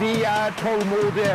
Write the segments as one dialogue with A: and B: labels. A: Vi er tålmodige.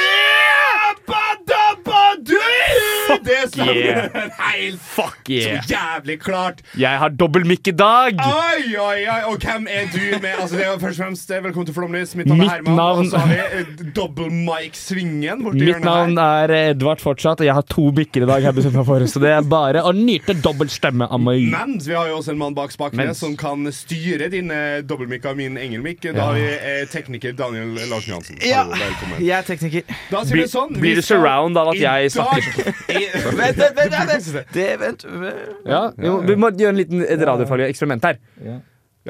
A: Det stemmer
B: yeah.
A: helt
B: Fuck yeah.
A: så jævlig klart.
B: Jeg har dobbel mikk i dag!
A: Oi, oi, oi. Og hvem er du med? Altså, det er jo først og fremst eh, Velkommen til Flomlys. Mitt navn er
B: Mitt
A: Herman.
B: navn-
A: Og så har vi eh, Double Mike Svingen borti
B: Mitt
A: hjørnet
B: navn
A: her.
B: er eh, Edvard fortsatt, og jeg har to mikker i dag. har jeg bestemt meg for Så det er bare å nyte dobbelt stemme av meg.
A: Men vi har jo også en mann bak spakene
B: Mens.
A: som kan styre din eh, dobbeltmikk og min engelmikk. Da har vi eh, tekniker Daniel Larsen Johansen.
C: Ja,
A: Hallo, velkommen.
C: jeg er tekniker.
A: Da sier
B: Blir-
A: vi sånn
B: blir
A: vi
B: det
A: skal
B: surround av at jeg
A: I dag
C: Vent, vent, vent! vent, vent. Det, vent. vent.
B: Ja, jo, vi må gjøre en liten et radiofaglig eksperiment her.
A: ja,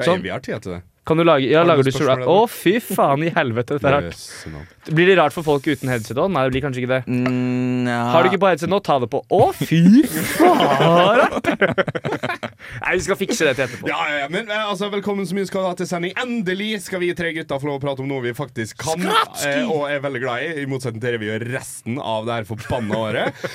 B: Sånn.
A: vi har tid til det.
B: Kan du lage, ja,
A: Har du
B: lager du
A: spørsmål,
B: surround? Å, fy faen i helvete. Dette er rart.
A: Jøsse navn.
B: Blir det rart for folk uten headset òg? Nei, det blir kanskje ikke det.
C: Mm, ja.
B: Har du ikke på headset nå, ta det på. Å, fy faen! Nei, vi skal fikse det til etterpå.
A: Ja, ja, ja, men eh, altså, Velkommen så mye skal du ha til sending. Endelig skal vi tre gutter få lov å prate om noe vi faktisk kan eh, og er veldig glad i. I motsetning til det vi gjør resten av det her forbanna året.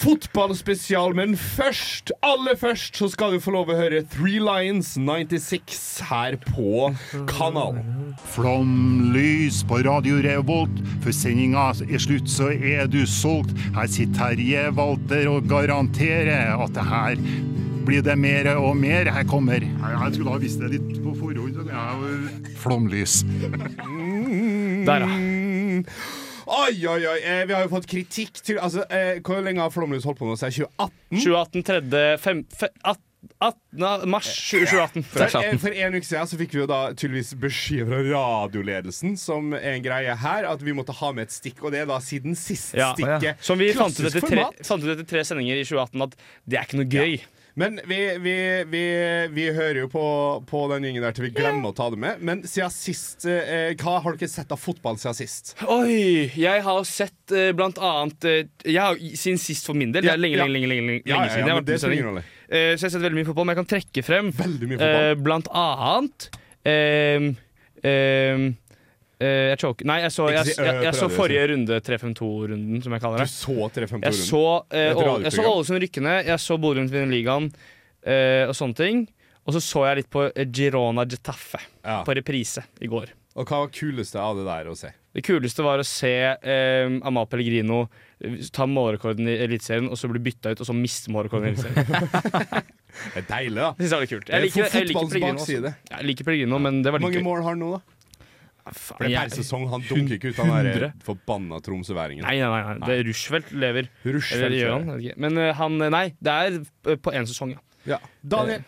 A: Fotballspesial, men først, aller først, så skal du få lov å høre Three Lions 96 her på kanalen.
D: Flomlys på Radio Revolt. Før sendinga er slutt, så er du solgt. Her sitter Terje Walter og garanterer at det her blir det mer og mer. Her kommer Jeg skulle ha visst det litt på forhånd. Flomlys.
B: Der, ja.
A: Mm. Oi, oi, oi. Eh, vi har jo fått kritikk til Altså, eh, Hvor lenge har Flomlys holdt på nå? Siden 2018?
B: 2018, 3. fem- fe- at- 18. mars 2018.
A: For, eh, for en uke siden så fikk vi jo da tydeligvis beskjed fra radioledelsen som er en greie her, at vi måtte ha med et stikk, og det er da siden sist
B: Ja.
A: stikket.
B: Som vi fant ut,
A: Klassisk
B: etter tre,
A: format.
B: fant ut etter tre sendinger i 2018 at det er ikke noe gøy.
A: Men vi, vi, vi, vi hører jo på, på den gjengen der til vi glemmer å ta det med. Men siden sist, eh, hva har dere sett av fotball siden sist?
B: Oi! Jeg har sett eh, blant annet eh, jeg har, Siden sist for min del. Det
A: Ja,
B: er lenge,
A: ja.
B: lenge, lenge, lenge, lenge
A: Ja, ja, ja,
B: siden. jeg har
A: men
B: vært
A: det
B: på
A: spiller
B: sending.
A: ingen rolle.
B: Eh, så jeg har sett veldig mye fotball, men jeg kan trekke frem
A: Veldig mye
B: eh,
A: fotball.
B: blant annet ehm, ehm, eh, Jeg choker Nei, jeg så,
A: Ikke
B: jeg,
A: si,
B: jeg, jeg,
A: øh, på
B: så
A: radio,
B: forrige runde, 3-5-2-runden, som jeg kaller det.
A: Du så 3-5
B: Jeg så, eh,
A: Et
B: Ål- jeg så
A: radioprogram.
B: Ålesund rykke ned, jeg så Bodø Glimt vinne ligaen eh, og sånne ting. Og så så jeg litt på eh, Girona Getafe
A: Ja.
B: på reprise i går.
A: Og hva var kuleste av det der å se?
B: Det kuleste var å se eh, Amal Pellegrino eh, ta målrekorden i Eliteserien, og så bli bytta ut, og så miste målrekorden i Eliteserien.
A: Det er deilig, da.
B: Det synes jeg var litt kult.
A: Det er
B: Jeg liker,
A: fot-
B: jeg liker
A: fotballens
B: Pellegrino også.
A: bakside.
B: Jeg liker Pellegrino, men det var
A: Hvor
B: litt
A: mange
B: gøy.
A: mål har han nå, da? For det er per
B: Jeg-
A: sesong. Han dunker ikke ut han der eh,
B: Hundre.
A: forbanna tromsøværingen.
B: Nei, nei, nei, nei. Det er Rushfeldt lever.
A: Rushfeldt
B: Eller gjør
A: lever.
B: han? jeg vet ikke. Men eh, han Nei, det er eh, på én sesong, ja.
A: Ja. Daniel,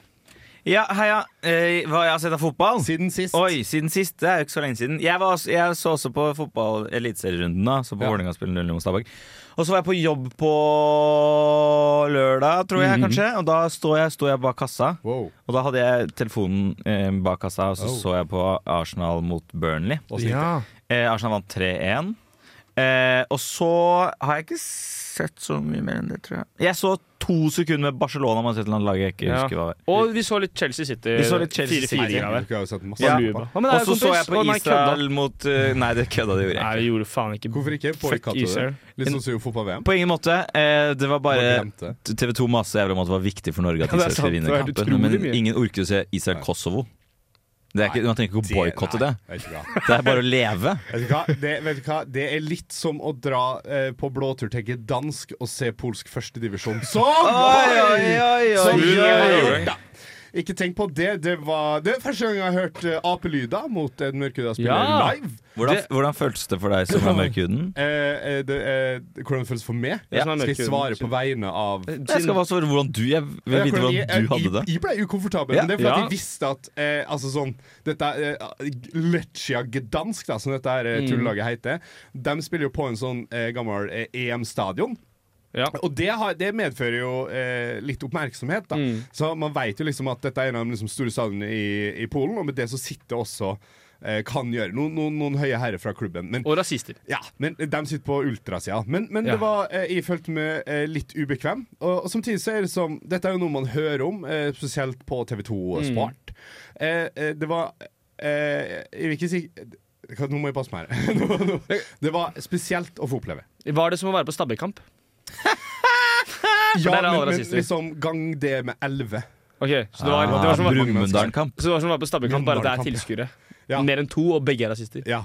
C: Ja, heia. Eh, hva jeg har sett av fotball?
A: siden sist
C: Oi, siden sist. Det er jo ikke så lenge siden. Jeg, var, også- jeg så også på fotball eliteserierunden, da. Så på
A: Ja.
C: Vålerenga spiller 0-0 mot Stabæk. Og så var jeg på jobb på lørdag, tror jeg
A: Mhm.
C: kanskje. Og da sto jeg, sto jeg bak kassa.
A: Wow.
C: Og da hadde jeg telefonen eh, bak kassa, og så
A: Oh.
C: så jeg på Arsenal mot Burnley.
A: Åssen gikk det?
C: Eh, Arsenal vant 3-1. Eh, og så har jeg ikke sett så mye mer enn det, tror jeg. Jeg så to sekunder med Barcelona mot et eller annet lag jeg ikke
B: Ja.
C: husker hva var.
B: Og vi så litt Chelsea City.
C: Vi så litt Chelsea
B: Fire-
C: City.
B: fire-
A: Nei,
B: fire-
A: dere har jo sett masse
C: Ja.
A: fotball.
B: Å, men det er
C: Og så
B: kompis.
C: så jeg på
B: Å, nei,
C: Israel
B: kødda.
C: mot eh, Nei, det kødda, det gjorde jeg
B: Nei,
C: ikke.
B: jeg gjorde faen ikke
A: Hvorfor ikke? Boykotte det.
B: Israel.
A: Litt sånn som jo fotball-VM.
C: På ingen måte. Eh, det var
A: Bare
C: bare
A: glemte.
C: TV 2 masse jævlig om at det var viktig for Norge at
B: Ja, det er
C: Israel
B: sant.
C: skulle vinne
B: Det er
C: kampen.
B: utrolig
C: Men
B: mye.
C: ingen orker å se Israel-Kosovo. Det er ikke,
A: Nei.
C: Man trenger ikke å boikotte det.
A: Nei, vet du hva?
C: Det er bare å leve.
A: Vet du hva? Det, vet du hva? det er litt som å dra eh, på blåtur til Gdansk og se polsk førstedivisjon. Sånn! Sånn
B: oi,
A: gjør
B: oi.
A: jeg. Ikke tenk på det. Det var det er første gang jeg har hørt eh, apelyder mot en mørkhuda spiller
B: Ja.
A: live.
C: Hvordan,
B: Det-
C: hvordan føltes det for deg som er mørkhuden?
A: Eh, eh, det, eh, hvordan det føles for meg?
B: Ja.
A: Skal jeg svare på vegne av
C: Jeg skal bare svare hvordan du Jeg vil
A: Jeg,
C: vite
A: jeg,
C: hvordan du hadde det.
A: jeg ble ukomfortabel, men
C: Ja.
A: det er fordi
B: Ja.
A: at jeg visste at eh, altså sånn, dette er, eh, Leccia Gdansk,
C: Mm.
A: da, som dette her, eh, tullelaget heter, de spiller jo på en sånn eh, gammel eh, EM-stadion.
B: Ja.
A: Og det, har, det medfører jo eh, litt oppmerksomhet, da.
B: Mm.
A: Så man vet jo liksom at dette er en av de liksom, store stadiene i, i Polen, og med det så sitter også eh, kan gjøre noen, noen, noen høye herrer fra klubben. Men,
B: Og rasister.
A: ja, men de sitter på ultrasida. Men, men
B: Ja.
A: det var eh, Jeg følte meg eh, litt ubekvem. Og, og samtidig så er det som Dette er jo noe man hører om, eh, spesielt på TV2
B: Mm.
A: Sport. Eh, eh, det var eh, Jeg vil ikke si hva- Nå må jeg passe meg her. Nå- nå- det var spesielt å få oppleve.
B: Var det som å være på stabbekamp?
A: Ja,
B: der er alle
A: men, men
B: rasister.
A: liksom gang det med elleve.
B: Ok, Så det var,
A: Ah,
B: det var som å være på-
C: Brumunddal-kamp.
B: så det var som å være på stabbekamp, bare at det er tilskuere.
A: Ja.
B: Mer enn to, og begge er rasister.
A: Ja.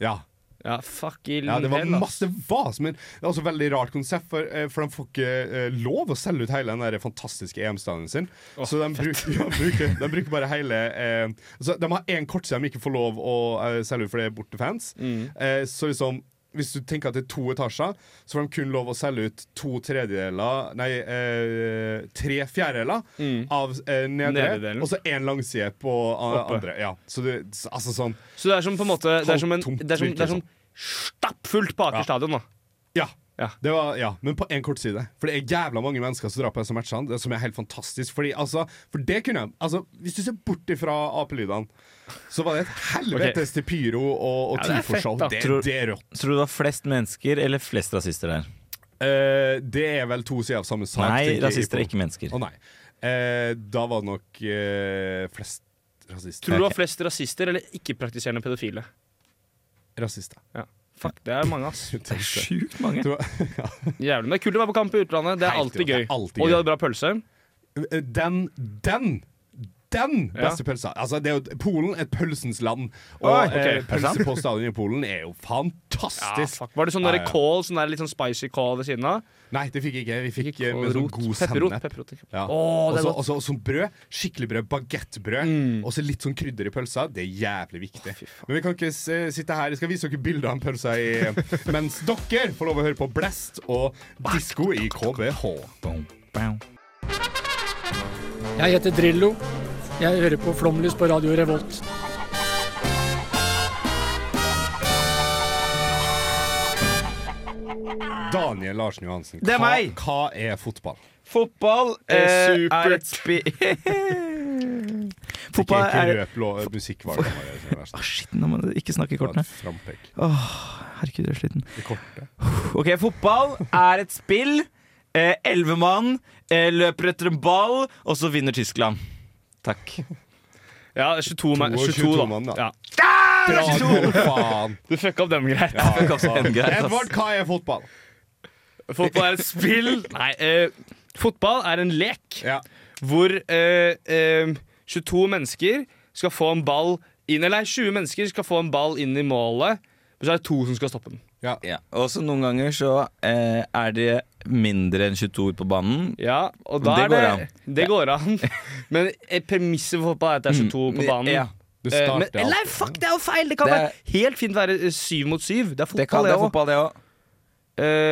A: Ja.
B: Ja, fuck i
A: ja, det var
B: hell, ass.
A: masse vas, men det er også et veldig rart konsept, for, eh, for de får ikke eh, lov å selge ut hele den der fantastiske EM-stadion sin. så de bruker, ja, bruker, de bruker bare hele eh, så De har én kortside de ikke får lov å eh, selge ut, for det er bortefans. Eh, så liksom hvis du tenker at det er to etasjer, så får de kun lov å selge ut to tredjedeler Nei, eh, tre fjerdedeler av eh, nedre,
B: Nedredelen.
A: og så én langside på eh,
B: Oppe.
A: andre. Ja. Så det, altså sånn
B: Så det er som på en måte Det er som, en,
A: Halvtomt,
B: det er som, det er
A: virker
B: som stappfullt på
A: liksom.
B: Aker
A: Ja.
B: stadion, da.
A: Ja.
B: Ja.
A: Det var, ja, men på én kort side. For det er jævla mange mennesker som drar på disse matchene. Det som er helt fantastisk. Fordi, altså, for det kunne jeg altså, Hvis du ser bort ifra apelydene, så var det et helvetes til pyro og, og
B: Ja, det er
A: TIFO-show.
B: fett, da.
A: Det,
C: Tror-
A: det er rått.
C: Tror du det var flest mennesker eller flest rasister der?
A: Eh, det er vel to sider av samme sak.
C: Nei,
A: tenker jeg
C: rasister er
A: på.
C: ikke mennesker.
A: Å nei. Eh, da var det nok eh, flest rasister.
B: Tror du det var flest rasister eller ikke-praktiserende pedofile?
A: Rasister.
B: Ja. Fuck, det er mange, ass.
C: Det er sjukt mange.
A: Tror jeg-
B: Jævlig. Men det er kult å være på kamp i utlandet. Det er
A: Helt
B: alltid
A: rått,
B: gøy.
A: det er alltid
B: Og de
A: gøy.
B: hadde bra pølse.
A: Eh, Den, den den beste pølsa! Altså, det er jo, Polen er pølsens land. Og
B: Oi, ok. Er
A: eh,
B: det
A: pølse på stadion i Polen er jo fantastisk!
B: fuck. Var det sånn
A: Ja,
B: der
A: ja.
B: kål, sånn der litt sånn spicy kål ved siden av?
A: Nei, det fikk jeg ikke. Vi fikk eh, med sånn
B: Kålrot.
A: god
B: Pepperrot.
A: sennep.
B: pepperrot.
A: Ja.
B: Å,
A: Og
B: det
A: så-
B: er godt. Mm.
A: og så og sånn brød. Skikkelig brød. Bagettbrød. Og så litt sånn krydder i pølsa. Det er jævlig viktig. Men vi kan ikke s eh, sitte her. Jeg skal vise dere bilder av en pølse i eh, Mens dere får lov å høre på Blast og disko i KBH.
E: Jeg heter Drillo. Jeg hører på Flomlys på Radio Revolt.
A: Daniel Larsen Johansen,
C: Det er
A: hva,
C: meg!
A: hva er fotball?
C: Fotball
A: er
C: eh,
A: supert.
C: er et spi...
A: Ikke,
C: Fotball
A: ikke
C: er
A: røp lå, musikkvarer.
C: Å, Shit, nå må du ikke snakke i kortene.
A: sånn- Frampek.
C: Herregud, jeg er sliten.
A: Det korte.
C: Ok, fotball er et spill. Eh, Elvemann eh, løper etter en ball, og så vinner Tyskland. Takk.
B: Ja, 22, ma-
A: 22,
B: 22 da.
A: mann, da.
B: Ja.
A: Bra, nå, faen!
B: Du fucka opp dem greit.
C: Fuck altså. off, det er greit, ass.
A: Edvard, hva er fotball?
B: Fotball er et spill. Nei, eh, fotball er en lek
A: Ja.
B: hvor eh, eh, 22 mennesker skal få en ball inn Eller 20 mennesker skal få en ball inn i målet, men så er det to som skal stoppe den.
C: Ja. Og så noen ganger så eh, er det mindre enn 22 ord på banen.
B: Ja, og da
C: Det
B: er
C: går
B: det,
C: an.
B: Det går an. Men eh, premisset for fotball er at det er 22 på banen.
C: Mm. Ja.
A: Du
B: Eh,
A: starter
B: men,
A: alt.
B: nei, fuck, det er jo feil! Det kan
C: Det er-
B: være helt fint være eh, syv mot syv. Det er
C: Det kan
B: fotball,
C: det
B: det Ehm,
C: er
B: òg.
C: fotball, det òg.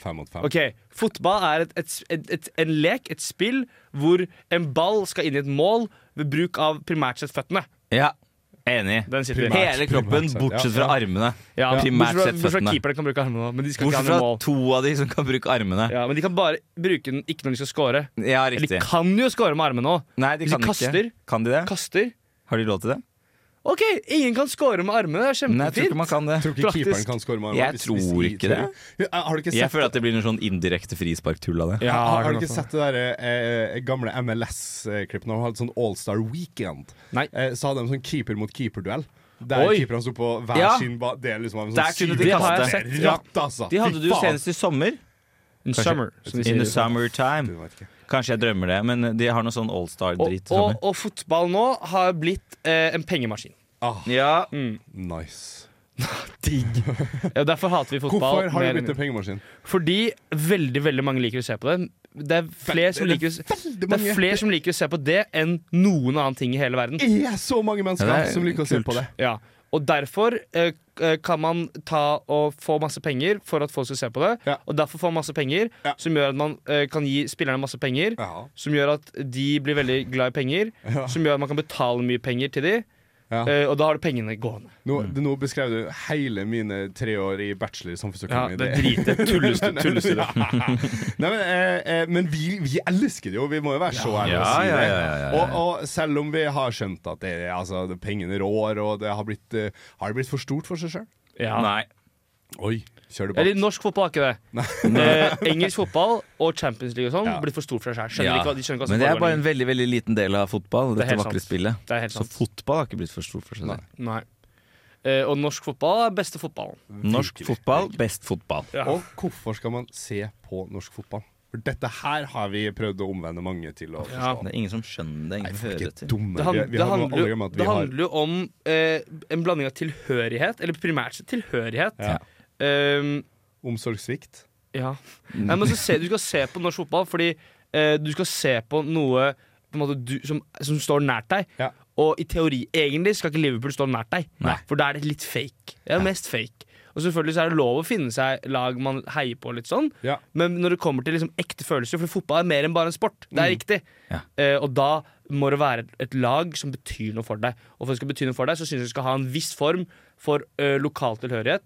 A: Fem mot fem.
B: OK. Fotball er et, et, et, et, en lek, et spill, hvor en ball skal inn i et mål ved bruk av primært sett føttene.
C: Ja. Enig.
B: Den sitter i.
C: Hele kroppen,
A: primært sett,
C: bortsett fra
A: ja,
C: armene.
B: Ja,
C: primært
B: bortsett fra-
C: sett
B: bortsett fra
C: føttene.
B: keeperne kan bruke armene, men de skal
C: Bortsett
B: ikke ha
C: fra
B: noe mål.
C: to av de som kan bruke armene. Ja,
B: Ja, men de kan bare bruke den ikke når de skal score. Eller
C: riktig.
B: de kan jo score med armene òg.
C: Nei, de
B: de
C: kan
B: kaster.
C: ikke. Kan de det?
B: Kaster.
C: Har de lov til det?
B: OK, ingen kan score med armene. Det er
C: Nei, jeg tror ikke
B: kjempefint.
C: man kan det.
A: Tror ikke
B: Praktisk.
A: keeperen kan score med armene,
C: Jeg
A: hvis-
C: tror
A: hvis i-
C: ikke det.
A: Ja, Har du ikke
C: Jeg
A: sett,
C: føler at det blir noe sånn indirekte frisparktull av det.
B: Ja,
A: har, har
B: kan
A: du ikke
B: også.
A: sett det der, eh, eh, gamle MLS-klippet når de hadde sånn All-Star Weekend?
B: Nei.
A: Eh, så hadde de sånn keeper mot keeper-duell. Der
B: Oi.
A: keeperne sto på hver
C: Ja.
A: sin ba Det er liksom en sånn
C: Der kunne de
A: syv-
C: kaste.
A: Det er
B: Ja.
A: Ratt, altså!
C: De hadde
A: Fy
C: det jo
A: faen.
C: senest i sommer.
B: In summer, som de
C: In
B: sier.
C: the summertime.
A: Jeg vet ikke.
C: Kanskje jeg drømmer det, men de har noe sånn
B: Og,
C: allstar-drit i
B: og,
C: sommer.
B: og fotball nå har blitt eh, en pengemaskin.
A: Ah,
C: Ja,
A: nice.
B: Digg. Ja, derfor hater vi
A: Hvorfor
B: fotball.
A: har
B: mer
A: det blitt
B: enn-
A: en pengemaskin?
B: Fordi veldig veldig mange liker å se på det. Det er flere som liker, å-
A: Veldig
B: det
A: mange.
B: er flere som liker å se på det enn noen annen ting i hele verden.
A: Det er så mange mennesker
C: Ja, det er
A: som liker å se
C: kult.
A: på det.
B: Ja, og derfor eh, eh, kan man ta og få masse penger for at folk skal se på det.
A: Ja.
B: Og derfor får man masse penger,
A: Ja.
B: som gjør at man eh, kan gi spillerne masse penger. Som gjør at de blir veldig glad i penger. Som gjør at man kan betale mye penger til de
A: Ja.
B: eh, og da har du pengene gående.
A: Nå,
C: Mm.
A: det- nå beskrev du hele mine tre år i bachelor i samfunnsøkonomi.
C: det er drite. Tullestudie. tullestudie.
A: Nei, men eh, eh, men vi, vi elsker det jo, vi må jo være så ærlige
C: Ja,
A: og si
C: ja,
A: det.
C: ja, ja, ja.
A: Og, og selv om vi har skjønt at det, altså, det, pengene rår, og det har blitt, eh, har det blitt for stort for seg sjøl?
C: Nei.
A: Oi, kjør
B: Eller
A: debatt.
B: norsk fotball er ikke det. Eh, engelsk fotball og Champions League og sånn
A: Ja.
B: blir for stor for seg selv. Skjønner
C: Ja.
B: ikke hva de skjønner ikke hva som
C: Men det er
B: foregår
C: bare en
B: lenger.
C: veldig veldig liten del av fotball,
B: Det er
C: dette
B: helt
C: vakre
B: sant.
C: spillet.
B: Det er helt
C: Så
B: sant.
C: fotball har ikke blitt for stor for seg. selv.
B: Nei. Eh, og norsk fotball er beste fotballen.
C: Norsk fotball, best fotball.
B: Ja.
A: Og hvorfor skal man se på norsk fotball? For dette her har vi prøvd å omvende mange til å
B: Ja.
A: forstå.
C: Det er ingen som skjønner det. Ingen som
A: Ikke
C: hører til.
A: dumme.
B: Det, han,
A: Vi, vi
B: det,
A: har
B: handler,
A: handler, alle
B: jo-
A: at
B: det
A: vi har
B: handler jo om eh, en blanding av tilhørighet, eller primært sett tilhørighet.
A: Ja.
B: Ehm,
A: omsorgssvikt.
B: ja.
A: Mm.
B: Nei, men så se, du skal se på norsk fotball fordi eh, du skal se på noe på en måte, du, som, som står nært deg.
A: Ja.
B: Og i teori egentlig skal ikke Liverpool stå nært deg,
C: Nei.
B: for da er det litt fake. Det er mest fake. Og selvfølgelig så er det lov å finne seg lag man heier på, litt sånn.
A: Ja.
B: men når det kommer til liksom ekte følelser, for fotball er mer enn bare en sport. Det er riktig.
C: Ja.
B: Eh, og da må det være et- et lag som betyr noe for deg. Og for at det skal bety noe for deg, så syns jeg du skal ha en viss form for eh, lokal tilhørighet.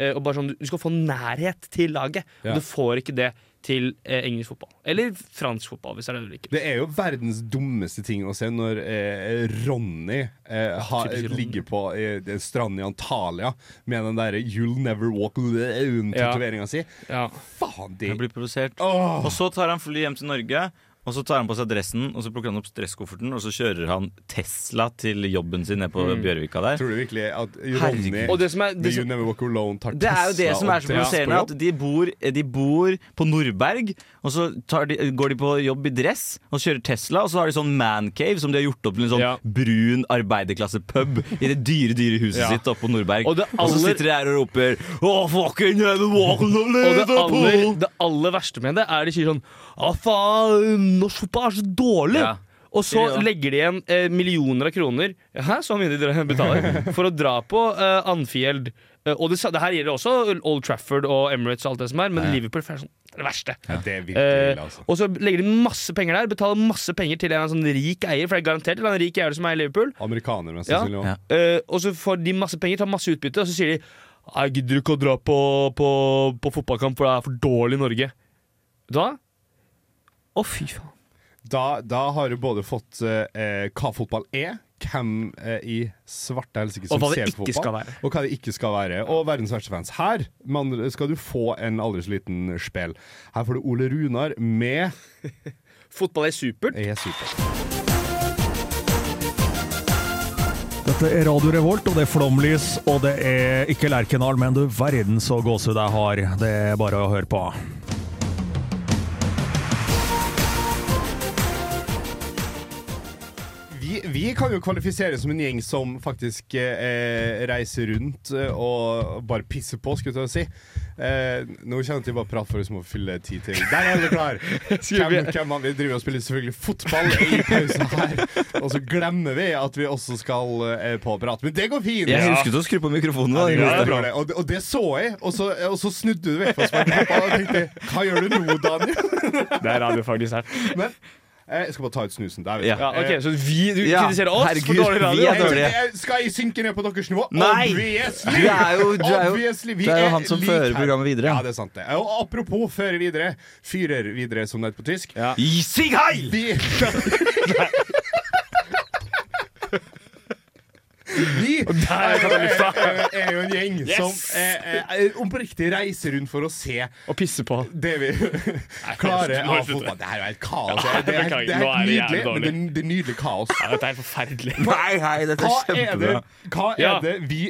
B: eh, og bare sånn, Du skal få nærhet til laget,
A: Ja.
B: og du får ikke det til eh, engelsk fotball. Eller fransk fotball, hvis det er det du liker.
A: Det er jo verdens dummeste ting å se når eh, Ronny eh, ha,
B: Typisk Ronny.
A: ligger på eh, den stranden i Antalya med den derre 'You'll Never Walk
B: Ja.
A: Alone'-tatoveringa si.
B: Ja.
A: Faen, det
C: Jeg blir provosert.
A: Åh!
C: Og så tar han fly hjem til Norge, og så tar han på seg dressen, og så plukker han opp dresskofferten, og så kjører han Tesla til jobben sin nede på Bjørvika der.
A: Tror du virkelig at Ronny
C: Herregud.
B: Og det som er,
A: med
B: det
A: You
B: som,
A: Never Walk Alone tar
C: Det er jo det
A: Tesla
C: som er
A: og
C: så
A: drar
C: provoserende,
A: på
C: at
A: jobb?
C: de bor, de bor på Nordberg, og så tar de, går de på jobb i dress og kjører Tesla, og så har de sånn mancave som de har gjort opp til en sånn
B: Ja.
C: brun arbeiderklassepub i det dyre, dyre huset
B: Ja.
C: sitt oppe på Nordberg.
B: Og det
C: så
B: aller-
C: sitter de her og roper Åh, fucking heaven, walk on
B: og det aller,
C: Liverpool!
B: det aller verste med det er de sier sånn Å, faen, norsk fotball er så dårlig!
C: Ja.
B: Og så
C: Sier de da.
B: legger de igjen eh, millioner av kroner Hæ, så mye de betaler for å dra på eh, Anfield. Eh, og det, sa- det her gjelder også Old Trafford og Emirates og alt det som er, men Liverpool er sånn, det er det verste.
A: Ja, det er virkelig
B: Eh,
A: ille, altså.
B: og så legger de masse penger der, betaler masse penger til en sånn rik eier, for det er garantert en eller annen rik eier som er i Liverpool.
A: Amerikaner, mest
B: Ja.
A: sannsynlig. også.
C: Ja.
B: Eh, og så får de masse penger, tar masse utbytte, og så sier de Jeg gidder ikke å dra på, på, på fotballkamp, for det er for dårlig i Norge. Da Å, fy faen.
A: Da, da har du både fått eh, hva fotball er, hvem eh, i svarte helsike som
B: Og hva det
A: ser på
B: ikke
A: fotball,
B: skal være.
A: og hva det ikke skal være. Og verdens verste fans. Her man, skal du få en aldri så liten spel. Her får du Ole Runar med
B: Fotball er supert.
A: Jeg er super.
F: Dette er Radio Revolt, og det er flomlys, og det er ikke Lerkendal, men du verden så gåsehud jeg har. Det er bare å høre på.
A: Vi, vi kan jo kvalifisere som en gjeng som faktisk eh, reiser rundt eh, og bare pisser på, skulle jeg til å si. Eh, nå kjenner jeg at jeg bare prater for oss om å fylle tid til. Der er du klar! Hvem,
B: vi-
A: hvem av vi driver og spiller selvfølgelig fotball i pausen her, og så glemmer vi at vi også skal eh, på prat. Men det går fint!
C: Jeg
A: Ja.
C: husket å skru på mikrofonen. Da.
A: Ja, det var det. Og, det- og det så jeg, og så, og så snudde du vekk fra spørsmålet. Og jeg tenkte hva gjør du nå, Daniel?
B: Det er radio faktisk her.
A: Men eh, jeg skal bare ta ut snusen. Der, vet du.
C: Ja.
B: Ja, ok, Så vi, du
C: Ja,
B: kritiserer oss
C: herregud,
B: for dårlig
C: vi
B: radio?
C: er
A: Jeg-
C: dårlige.
A: jeg- eh, Skal jeg synke ned på deres nivå?
C: Nei!
A: Obviously!
C: Du er jo, du er jo,
A: Obviously, vi
C: det er jo han som
A: lik
C: fører
A: her.
C: programmet videre.
A: Ja, det er sant, det. Og apropos føre videre. Fyrer videre, som det heter på tysk.
C: I Sig heil!
A: Vi Vi er jo, er, er jo en gjeng som eh, eh, om på riktig reiser rundt for å se
B: Og pisser på.
A: det vi klarer av fotball. Det her er jo helt kaos. Det er, helt- det er helt nydelig, men det, er- det er nydelig kaos.
B: dette er helt forferdelig.
C: Nei, hei, dette
A: Hva
C: er
A: er det,
C: kjempebra.
A: hva
B: Ja.
A: er det vi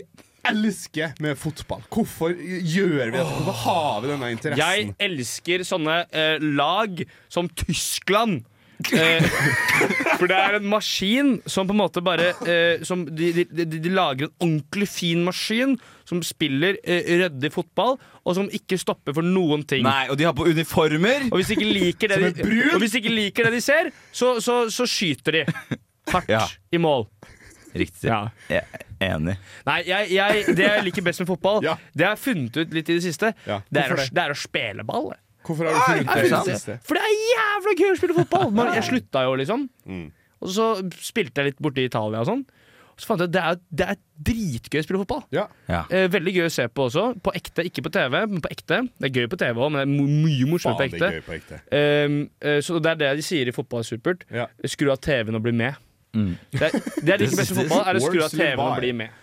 A: elsker med fotball? Hvorfor gjør vi dette? Hvorfor har vi denne interessen?
B: Jeg elsker sånne eh, lag som Tyskland. Eh, for det er en maskin som på en måte bare eh, som de, de, de, de lager en ordentlig fin maskin som spiller eh, ryddig fotball, og som ikke stopper for noen ting.
C: Nei, og de har på uniformer.
B: Og hvis de ikke liker det de, og hvis de ikke liker det de ser, så, så, så skyter de hardt
C: Ja.
B: i mål.
C: Riktig. Jeg er enig.
B: Nei, jeg, jeg, det jeg liker best med fotball,
A: Ja.
B: det har jeg funnet ut litt i det siste,
A: Ja.
B: det, er
A: Hvorfor
B: å,
A: det?
B: det er å spille ball.
A: Hvorfor har du funnet
B: Jeg
A: det? i
B: synes
A: det
B: det.
A: siste?
B: For det er jævla
A: Mm.
B: gøy å spille fotball! Man, jeg slutta jo, liksom. Og så spilte jeg litt borte i Italia og sånn. Så fant jeg ut det er, det er dritgøy å spille fotball.
A: Ja.
C: Ja.
B: Eh, veldig gøy å se på også. På ekte, ikke på TV, men på ekte. Det er gøy på TV òg, men det er mo- mye morsomt på
A: Faen, det
B: ekte.
A: er gøy på ekte.
B: Ehm, eh, så det er det de sier i Fotball er supert.
A: Ja.
B: Skru av TV-en og bli med.
C: Mm.
B: Det er det, er det ikke beste med fotball, er å skru av TV-en og bli med.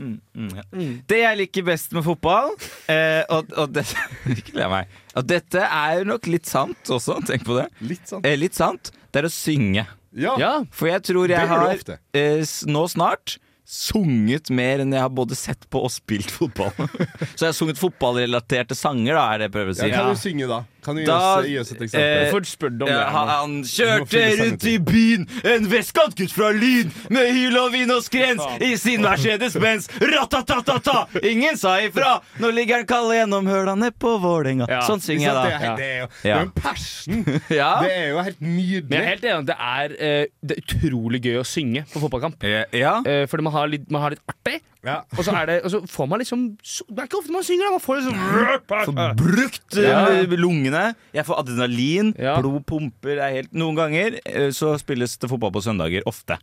A: Mm,
C: Mm. Det jeg liker best med fotball eh, og, og, det, ikke le av meg, og dette er nok litt sant også, tenk på det.
A: Litt sånn.
C: Eh, litt sant. Det er å synge.
A: Ja.
B: Ja,
C: For jeg tror
A: Det
C: jeg
A: gjør du
C: har
A: ofte.
C: eh, s- nå snart sunget mer enn jeg har både sett på og spilt fotball. Så jeg har sunget fotballrelaterte sanger, da, er det jeg prøver å
A: Ja,
C: si.
A: kan du synge, da? Kan du gi
C: Da,
A: oss, gi oss et eksempel?
C: eh,
B: Hvorfor spør du om det?
C: Ja,
B: her nå?
C: han
A: Du må
C: kjørte
A: finne
C: rundt i
A: sannheten.
C: byen, en vestkantgutt fra Lyn, med hyl og vin og skrens i sin Mercedes-Benz. Ratatatata! Ingen sa ifra! Nå ligger han kald gjennom høla ned på Vålerenga.
B: Ja,
C: Sånn
A: Ikke
C: synger
A: sant?
C: jeg, da.
A: Det er, det er jo det
C: Ja.
A: er jo en passion!
C: Ja.
A: Det er jo helt
B: Men jeg er
A: nydelig.
B: helt enig i at det er, eh, det er utrolig gøy å synge på fotballkamp.
C: Eh, ja.
B: Eh, fordi man har litt, man har litt artig,
A: Ja.
B: og så, er det, og så får man liksom så, Det er ikke ofte man synger, da. Man får liksom
C: Får brukt eh,
B: Ja.
C: lungene. Jeg får adrenalin.
B: Ja.
C: Blod pumper er helt Noen ganger eh, så spilles det fotball på søndager. Ofte.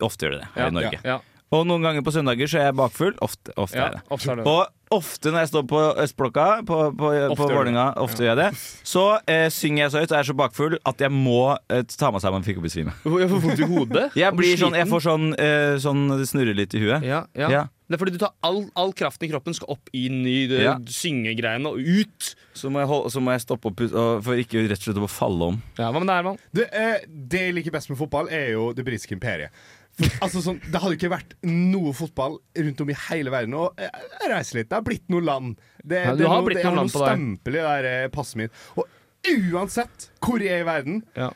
C: Ofte gjør det det her
B: Ja,
C: i Norge.
B: ja.
C: Og noen ganger på søndager så er jeg bakfull. Ofte, ofte
B: Ja,
C: er det.
B: ofte er det.
C: Og ofte når jeg står på Østblokka, på, på, på
B: gjør du
C: Vålerenga, ofte gjør jeg det, så eh, synger jeg så høyt og er så bakfull at jeg må eh, ta meg sammen for ikke å besvime.
B: Jeg får vondt i hodet.
C: Jeg,
B: og
C: blir sånn, jeg
B: sliten.
C: får sånn, eh, sånn Det snurrer litt i huet.
B: ja, ja.
C: Ja.
B: Det er fordi du tar all, all kraften i kroppen skal opp inn i det,
C: Ja.
B: syngegreiene og ut.
C: Så, må jeg hol- så må jeg stoppe opp og- for ikke rett og slett å falle om.
B: Ja, Hva med deg, Herman?
A: Det, eh, det jeg liker best med fotball, er jo det britiske imperiet. For, altså sånn, Det hadde ikke vært noe fotball rundt om i hele verden. Og eh, jeg reiser litt. Det har blitt noe land. Det,
B: Ja, du
A: det er
B: har
A: noe,
B: blitt
A: det
B: noe
A: er
B: land
A: noe
B: på deg.
A: stempel i det der, eh, passet mitt. Og uansett hvor jeg er i verden,
B: Ja.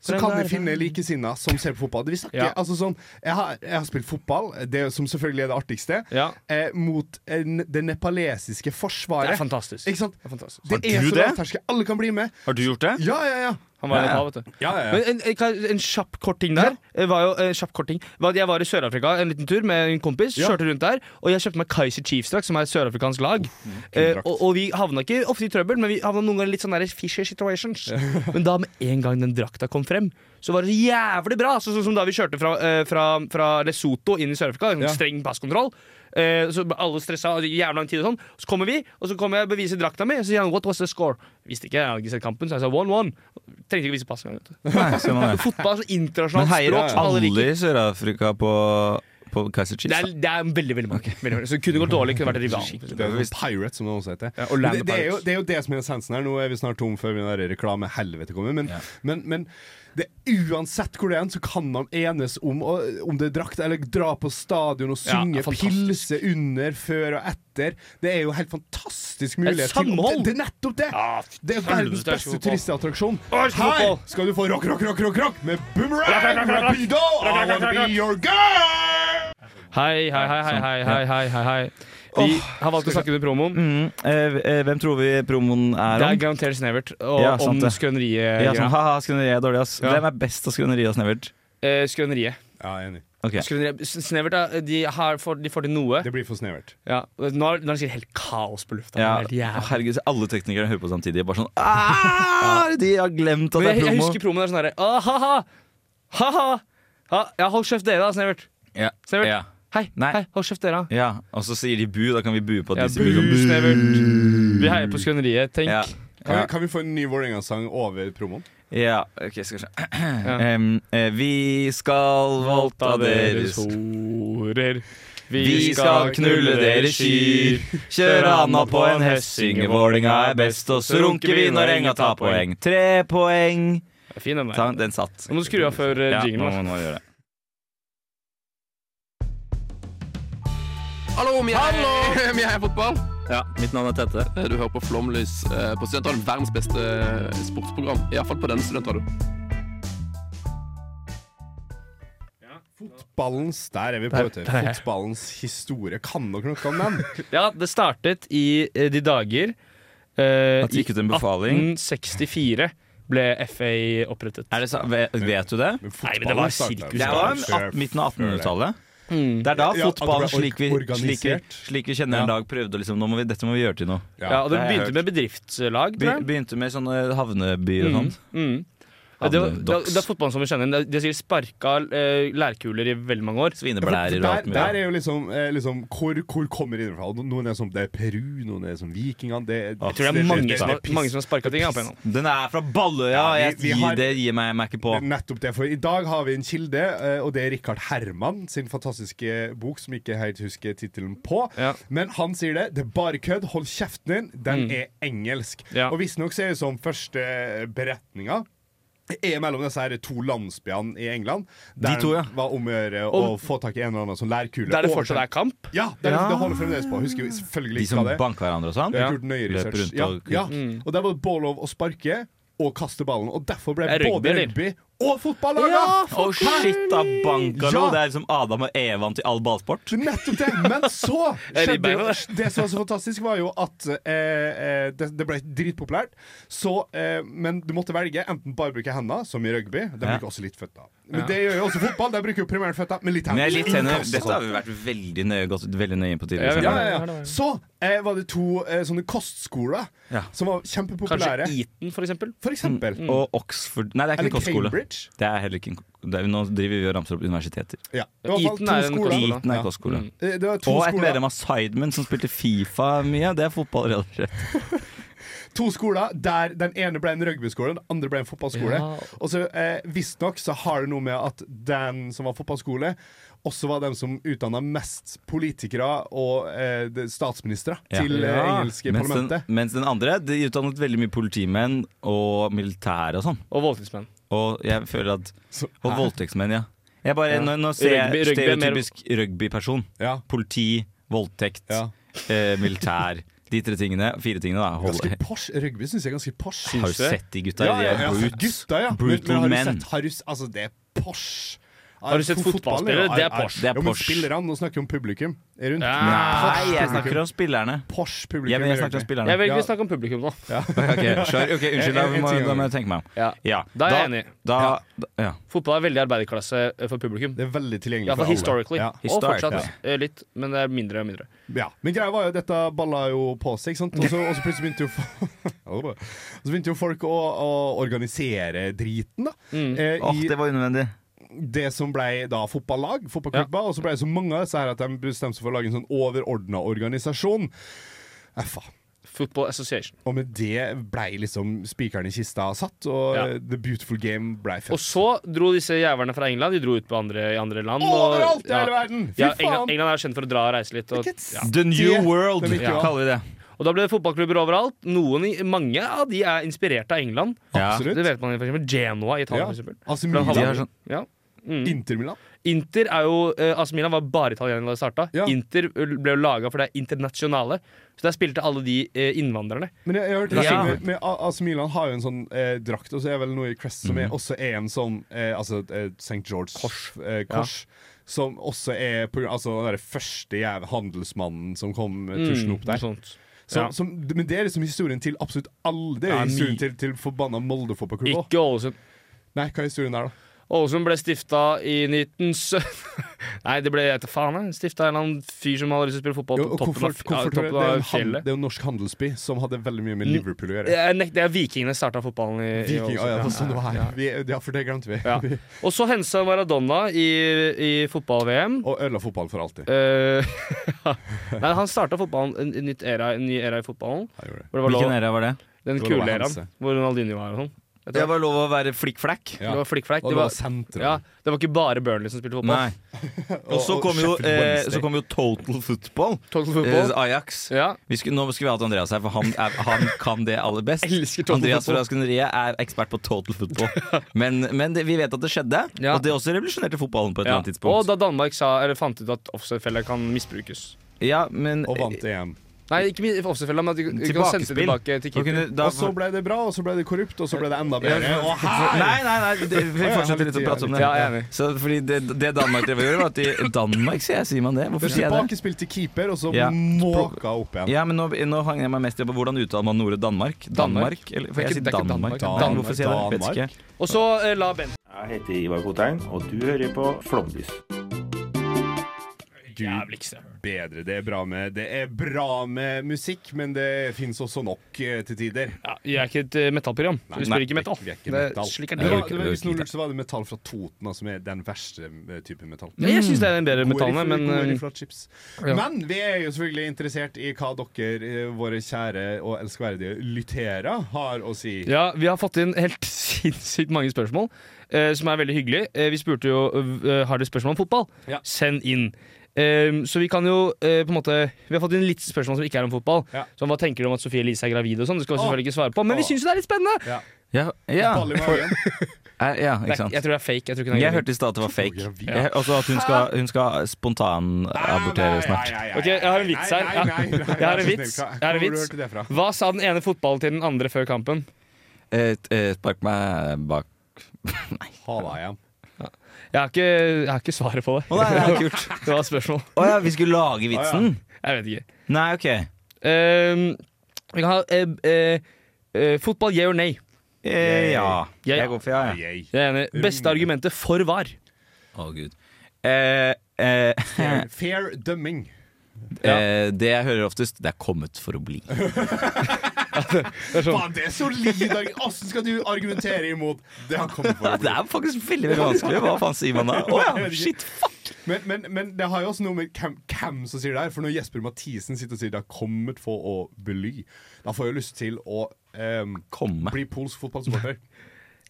A: så kan vi finne likesinnede som ser på fotball. Vi snakker,
B: Ja.
A: altså sånn, jeg, har, jeg har spilt fotball, det som selvfølgelig er det artigste,
B: Ja.
A: eh, mot eh, ne- det nepalesiske forsvaret.
B: Det er fantastisk.
A: Ikke sant?
B: Det er fantastisk.
A: Det er
C: du
A: så
C: det?
A: lavterskel. Alle kan bli med.
C: Har du gjort det?
A: Ja, ja, ja.
B: Han var
C: Ja,
B: litt
C: ja.
B: av, vet du.
A: ja, ja, ja.
B: Men en, en, kan- en kjapp kort ting der eh, var jo, en kjapp kort ting var at Jeg var i Sør-Afrika en liten tur med en kompis.
A: Ja.
B: Kjørte rundt der Og jeg kjøpte meg Kaiser Chiefs-drakt, som er et sørafrikansk lag. Eh,
A: drakt.
B: og, og vi havna ikke ofte i trøbbel, men vi havna noen ganger i litt sånne der fishy situations. men da med en gang den drakta kom frem, så var det så jævlig bra! Så, sånn som da vi kjørte fra, eh, fra, fra Lesotho inn i Sør-Afrika. en
A: Ja.
B: Streng passkontroll. Eh, så ble alle stressa og det gikk jævlig lang tid og sånn. Så kommer vi, og så kommer jeg og beviser drakta mi. Og så sier han 'What was the score?' Visste ikke, jeg hadde ikke sett kampen, så jeg sa 1-1. Trengte ikke vise pass engang. vet du.
C: Nei, skal man gjøre.
B: Fotball er så
C: Men
B: internasjonalt
C: heier
B: språk som alle
C: alle
B: liker.
C: i Sør-Afrika på, på Kaiser Chiefs?
B: Det er,
C: da?
B: det er veldig veldig mange. Veldig, mange. Så det kunne gått dårlig, kunne vært rival.
A: Det er jo Pirates, som det også heter.
B: og Land
A: det, det, er jo,
B: Pirates.
A: det er jo det som er essensen her. Nå er vi snart tom før min der reklamehelvete kommer. Men, men, men det, uansett hvor det er, så kan man enes om å- om det er drakt, eller dra på stadion og
B: Ja,
A: synge
B: fantastisk.
A: pilse under, før og etter. Det er jo helt fantastisk mulighet
B: samhold!
A: Det, det er nettopp det!
B: Ja,
A: det er
B: helvete,
A: verdens
B: jeg skal
A: beste
B: på.
A: turistattraksjon.
B: jeg skal
A: Her
B: på.
A: skal du få rock, rock, rock, rock, rock med
B: Rock,
A: boomerang!
B: rock, rock, rock.
A: Rapido! I wanna be your girl!
B: Hei, hei, hei, hei, hei, hei, hei, hei, hei. Vi har valgt å snakke under promoen.
C: Mm, eh, eh, hvem tror vi promoen er
B: Det
C: om?
B: er garantert Snevert og
C: Ja,
B: om
C: sant det.
B: skrøneriet.
C: Ja, sånn, haha, skrøneriet er dårlig, ass.
B: Ja.
C: Hvem er best av skrøneriet og snevert?
B: Eh, skrøneriet.
A: Ja, jeg er enig.
C: Ok.
B: Skrøneriet. S- Snevert er- de, har, får- de får til noe.
A: Det blir for snevert.
B: Ja. Nå er nå er det sikkert helt kaos på lufta.
C: Ja.
B: Helt jævlig.
C: Herregud, så alle teknikere hører på samtidig. Bare sånn «Ah, De har glemt at
B: Men
C: det
B: jeg, jeg
C: er promo.
B: husker promoen er sånn herre Ha-ha! Ha-ha! Ha- Ja, hold kjeft dere, da, Snevert.
C: Ja.
B: Snevert.
C: Ja.
B: Hei,
C: Nei.
B: hei, hold kjeft dere. da.
C: ja. Og så sier de bu, da kan vi bue på at
B: Ja,
C: de sier bu.
B: bu, Snevert. Vi heier på skrøneriet. Tenk.
C: Ja.
A: Kan,
C: Ja.
A: vi, kan vi få en ny Vålerenga-sang over promoen?
C: ja, ok, skal vi se.
B: Ja.
C: Em, eh, vi skal voldta deres
B: horer.
C: Vi skal knulle deres kyr. Kjøre anda på en hest, synge Vålinga er best, og så runker vi når enga tar poeng. Tre poeng.
B: Fin den
C: Ta,
B: der.
C: den satt.
B: Nå må du skru av før eh,
C: Ja, nå
B: jinglen.
C: må man gjøre det.
G: Hallo, vi er, Hallo! vi er fotball. Ja, Mitt navn er Tete. Du hører på Flomlys eh, på Studentradioen. Verdens beste eh, sportsprogram. Iallfall på denne studentradioen.
A: Fotballens Der er vi på, vet du. Fotballens historie. Kan dere noe om den?
B: Ja, det startet i eh, de dager eh,
C: At det gikk ut en
B: i
C: befaling.
B: 1864 ble FA opprettet.
C: Er det sa, ve- vet du det?
A: Men
B: Nei, men det var
A: fotballen startet-
B: sirkus.
C: Det var en- midten av 1800-tallet.
B: Mm.
C: Det er da
A: Ja, at det ble
C: fotballen
A: or-
C: slik vi, slik, vi,
A: organisert.
C: slik vi kjenner den i dag, prøvde å liksom nå må vi, Dette må vi gjøre til noe.
B: Ja, og det
C: det har jeg
B: begynte med bedriftslag,
C: Be,
B: tror Hmm. jeg.
C: begynte med sånne havnebyer og sånn.
B: Mm.
C: Og
B: Det, var- det, er- det er fotballen som vi kjenner igjen. Det er- De sier sparka eh, lærkuler i veldig mange år.
C: Svineblærer og
A: der,
C: alt mulig.
A: der er jo liksom, eh, liksom hvor, hvor kommer det fra? Noen er som det er Peru, noen er som vikingene det,
B: Jeg tror det er mange som har, mange som har sparka ting. Ja, på en hånd.
C: Den er fra Balløya!
A: Ja,
C: jeg,
A: vi- vi har-
C: Det gir meg meg ikke på.
A: Det er Nettopp det, for I dag har vi en kilde, eh, og det er Richard Herman sin fantastiske bok, som ikke helt husker tittelen på.
B: Ja. Mm.
A: Men han sier det. Det er bare kødd. Hold kjeften din. Den er engelsk.
B: Ja.
A: Og visstnok ser det ut som første beretninga er mellom disse her to landsbyene i England. Der
C: De to, ja.
A: det var om å gjøre å
B: Og-
A: få tak i en eller annen som lærkule.
B: Der det fortsatt er kamp.
A: Ja, det, er-
C: Ja.
A: det holder fremdeles på. Husker jo selvfølgelig
C: De
A: ikke
C: som
A: av det.
C: banker hverandre og sånn?
A: Jeg har gjort nøye
C: Løper
A: research.
C: rundt og- Mm.
A: ja, ja. og der var det både lov å sparke og kaste ballen. Og derfor ble
B: Er det rugby,
A: både
B: eller?
A: rugby og fotball laga!
C: Å, shit, da banka
A: Ja.
C: noe. Det er liksom Adam og Evan til all ballsport.
A: Nettopp det! Men så
B: Jeg
A: skjedde
B: ribbeina
A: jo
B: det.
A: Det som var så fantastisk, var jo at eh, eh, det, det ble dritpopulært. Så, eh, men du måtte velge enten bare bruke hendene, som i rugby. De
C: Ja.
A: bruker også litt føttene. Men det gjør jo også fotball. De bruker jo primært føttene, men litt
C: Men
A: hender.
C: jeg er sånn. litt senere.
A: Innkast og
C: Dette
A: sånt.
C: har vi vært veldig nøye, gått veldig nøye inn på
B: Ja,
C: tidligere.
A: ja,
C: sånn.
A: ja, ja. Så eh, var det to eh, sånne kostskoler
C: Ja.
A: som var
B: Kanskje
A: kjempepopulære.
B: Eton, for eksempel.
A: For eksempel.
C: Mm. Og Oxford Nei, det er ikke en
A: Eller
C: kostskole.
A: mm. Cambridge.
C: Det er heller ikke en, ko- det er, nå driver vi og ramser opp universiteter.
A: Ja. Det var i hvert
B: Eton
A: fall
B: er
A: to
B: en
A: skoler.
B: kostskole.
C: Liten er
A: Ja.
C: kostskole.
A: Eh, Det var to
C: Og et
A: skoler,
C: medlem av Sidemen som spilte Fifa mye. Det er fotball. rett og slett.
A: to skoler der den ene ble en rugbyskole, den andre ble en fotballskole. Og så eh, Visstnok så har det noe med at den som var fotballskole, også var den som utdanna mest politikere og eh, det- statsministre
C: Ja.
A: til eh,
B: Ja.
A: engelske
C: Mens den,
A: parlamentet.
C: mens den andre de utdannet veldig mye politimenn og militære og sånn.
B: Og voldtektsmenn.
C: Og jeg føler at
A: Så-
C: Og voldtektsmenn, ja. Jeg bare,
B: Ja.
C: Nå, nå ser jeg
B: Rugby- rugby er mer-
C: stereotypisk rugbyperson.
A: Ja.
C: Politi, voldtekt,
A: Ja.
C: eh, militær. De tre tingene. Fire tingene, da. Hold,
A: Ganske posh. Rugby syns jeg er ganske posh.
C: har du
A: Synes jeg.
C: sett de gutta? De er brute.
A: Gutta, ja. men,
C: Brutal
A: men har du
C: menn.
A: sett, har du, s- altså, det er posh.
B: Har du sett fotballspillere? Det er posh.
C: Det er
A: jo, men
C: posh.
A: spillerne, nå snakker vi om publikum. Er rundt.
B: Ja.
C: Nei, jeg snakker om spillerne.
A: Posh publikum.
C: Ja, men
A: i
C: jeg snakker om
A: rugby.
C: spillerne.
B: Jeg velger
A: Ja.
B: å snakke om publikum nå.
C: Ok, skjønner. Ok, unnskyld, da må, da må jeg tenke meg om.
B: Ja.
C: Ja,
B: Da er jeg enig.
C: Da, da, ja.
B: Fotball er veldig arbeiderklasse eh, for publikum.
A: Det er veldig tilgjengelig
B: Iallfall historically.
A: Ja.
B: Og
C: Historic,
B: fortsatt eh, litt, men det er mindre og mindre.
A: Ja, Men greia var jo at dette balla jo på seg, ikke sant? Og så og så plutselig begynte jo, fo- Og så begynte jo folk å, å organisere driten, da.
B: Mm.
A: Eh,
C: Åh,
A: I
C: det var unødvendig.
A: det som ble da fotballag, fotballklubber. Og så ble det så mange av disse her at de bestemte seg for å lage en sånn overordna organisasjon. Effa.
B: Football Association.
A: Og med det blei liksom spikeren i kista satt, og
B: Ja.
A: eh, The Beautiful Game blei
B: Og
A: født.
B: så dro disse jævlene fra England De dro ut på andre, i andre land. og-
A: Overalt i
B: ja.
A: hele verden! Fy
B: Ja, England,
A: faen!
B: England er jo kjent for å dra og reise litt. Og,
A: Ikke et
B: ja.
C: The New
A: Det-
C: World,
A: det liker jeg.
C: kaller vi det.
B: og da ble det fotballklubber overalt. Noen, i- mange av de er inspirert av England.
C: Ja.
B: Det
A: Absolutt.
B: vet man for eksempel Genoa i Italia.
A: Ja.
B: for eksempel.
A: Altså,
B: Blant
C: De
A: Milan,
C: har sånn
B: Ja.
A: Inter Milan.
B: Inter er jo eh, AC Milan var bare italienere da det starta.
A: Ja.
B: Inter ble jo laga for det er internasjonale. Så der spilte alle de eh, innvandrerne.
A: Men jeg, jeg har hørt
B: Ja.
A: med, med A- AC Milan har jo en sånn eh, drakt, og så er vel noe i Crest som er,
B: Mhm.
A: også er en sånn eh, altså, eh, St. George kors. Eh, kors Som også er på grunn altså, den derre første jævla handelsmannen som kom eh, tusen opp
B: Mm, Noe
A: der.
B: sånt.
A: Som-
B: ja.
A: som, men det er liksom historien til absolutt alle. Det er
B: Ja,
A: jo historien
B: mi-
A: til, til forbanna Molde fotballklubb òg.
B: Ikke Ålesund.
A: Nei, hva er historien der, da?
B: Ålesund ble stifta i 1970 Nei, det ble jeg vet da faen. jeg. Stifta en eller annen fyr som hadde lyst til å spille fotball
A: Jo,
B: på
A: og
B: toppen av,
A: Koffert-
B: ja,
A: Koffert- det, er
B: toppen av
A: en han-
B: fjellet.
A: det er jo en norsk handelsby som hadde veldig mye med Liverpool å gjøre.
B: Jeg nek- Det er vikingene starta fotballen i, i
A: Viking, ah, ja, det var sånn det var her.
B: Ja.
A: Vi, ja, for det glemte vi.
B: Ja. Og så hensa Maradona i, i fotball-VM.
A: Og ødela fotball for alltid.
B: Eh, Nei, han starta fotballen, en, en, nytt era, en ny era i fotballen.
A: Jeg gjorde det.
B: Hvor det var lov,
C: Hvilken æra var det?
B: den
A: hvor det var
B: kule
A: hense.
B: eraen, hvor Ronaldinho var og sånn. Etter
C: Det
B: hvert.
C: var lov å være flikkflakk.
A: Ja.
B: Det var flikkflekk.
A: Og
B: Det,
A: det var
B: var-
A: sentrum.
B: ja, det var ikke bare Burnley som spilte fotball.
C: Nei. Og så
A: og
C: kom jo,
A: Sheffield
C: eh,
A: Wednesday.
C: så kom jo Total Football.
B: Total
C: Eh,
B: football.
C: Ajax.
B: Ja.
C: Vi skulle, nå skulle vi hatt Andreas her, for han, er, han kan det aller best.
B: Elsker total
C: Andreas
B: football.
C: fra Skunderiet er ekspert på total football. Men, men det, vi vet at det skjedde,
B: Ja.
C: og det også revolusjonerte fotballen på et
B: Ja.
C: eller annet
B: Og
C: tidspunkt.
B: da Danmark sa, eller fant ut at offside-fella kan misbrukes.
C: ja, men,
A: Og vant EM.
B: Nei, ikke mi- offside-fella, men at de de kan sende det
C: Tilbakespill.
B: tilbake til
C: Da kunne,
B: keeper.
C: da,
A: Og så ble det bra, og så ble det korrupt, og så ble det enda bedre.
C: Ja,
A: Og
C: for-
A: her!
C: Nei, nei, nei, det, vi fortsetter litt å prate om det.
B: Ja, jeg er enig.
C: Så, fordi det, det Danmark drev og gjorde, var at de Danmark, sier jeg, sier man det? Hvorfor sier jeg det?
A: Tilbakespill til keeper, og så
C: Ja.
A: måka opp igjen.
C: Ja, men nå, nå hang jeg meg mest i på hvordan uttaler man ordet Danmark. Danmark? Eller, for
B: Det er ikke-
C: jeg sier
B: det er ikke Danmark.
C: Danmark. Dan- Hvorfor sier jeg det? Vet ikke.
B: Og så eh, la Ben
H: Jeg heter Ivar Kotein, og du hører på Flomlys.
A: Gud bedre. Det er bra med, det er bra med musikk, men det fins også nok eh, til tider.
B: ja, Vi er ikke et eh, metallprogram. så Vi
A: Nei,
B: spiller ikke metall.
A: Vi er ikke
B: Det er-
A: metall.
B: Slik er
A: Det
B: det.
A: var, det var, hvis noen lurte, så var det metall fra Toten, da, som er den verste eh, type metall.
B: Ja, jeg synes det er den bedre
A: Gode
B: metallene,
A: riff-
B: men,
A: gode
B: eh,
A: riff fra chips.
B: ja.
A: Men vi er jo selvfølgelig interessert i hva dere, eh, våre kjære og elskverdige lyttere, har å si.
B: Ja, Vi har fått inn helt sinnssykt mange spørsmål, eh, som er veldig hyggelig. Eh, vi spurte jo eh, har dere spørsmål om fotball.
A: Ja.
B: Send inn. Eh, så vi kan jo eh, på en måte Vi har fått inn litt spørsmål som ikke er om fotball.
A: Ja.
B: Som hva tenker du om at Sofie Elise er gravid og sånn? Det skal vi
A: Åh.
B: selvfølgelig ikke svare på, men vi
A: Åh.
B: syns jo det er litt spennende!
A: Ja.
C: Ja, ja.
A: Ball i magen.
C: Eh, ja
B: Nei,
C: ikke sant.
B: jeg tror det er fake. Jeg tror ikke det er
C: Jeg
B: gravid.
C: hørte i stad at det var fake.
A: gravid.
C: Jeg, altså at hun skal, hun skal spontanabortere snart.
B: Ok, jeg har en vits her.
A: Nei, nei, nei, nei,
B: Jeg har en
A: vær så
B: vits.
A: snill, hva-
B: Jeg har en
A: hvor
B: vits.
A: hørte du det fra?
B: Hva sa den ene fotballen til den andre før kampen?
C: Eh, eh, Spark meg bak Nei.
A: Ha deg igjen.
B: Jeg har ikke, jeg har ikke svaret på det.
C: Å nei, det er kult.
B: Det var et spørsmål.
C: Å ja, vi skulle lage vitsen?
B: Jeg vet ikke.
C: Nei, OK. Eh,
B: Ehm, vi kan ha eh, eh, eh, fotball yeah or nay.
C: Eh, ja.
B: Ja, ja.
C: Jeg går for ja, ja.
A: Yay.
B: Jeg er enig. Beste argumentet for var.
C: Å, gud. Eh, eh,
A: Fair, fair dømming.
C: eh, det jeg hører oftest, det er 'kommet for å bli'.
A: Faen, det er solid! arg- Åssen skal du argumentere imot? Det har kommet for å
C: Det
A: bli.
C: er faktisk veldig veldig vanskelig. Hva faen sier man da? Å ja, shit, fuck!
A: Men, men, men det har jo også noe med hvem, hvem som sier det her. For når Jesper Mathisen sitter og sier det har kommet for å bli, da får jeg lyst til å ehm,
C: Komme.
A: bli polsk fotballsupporter.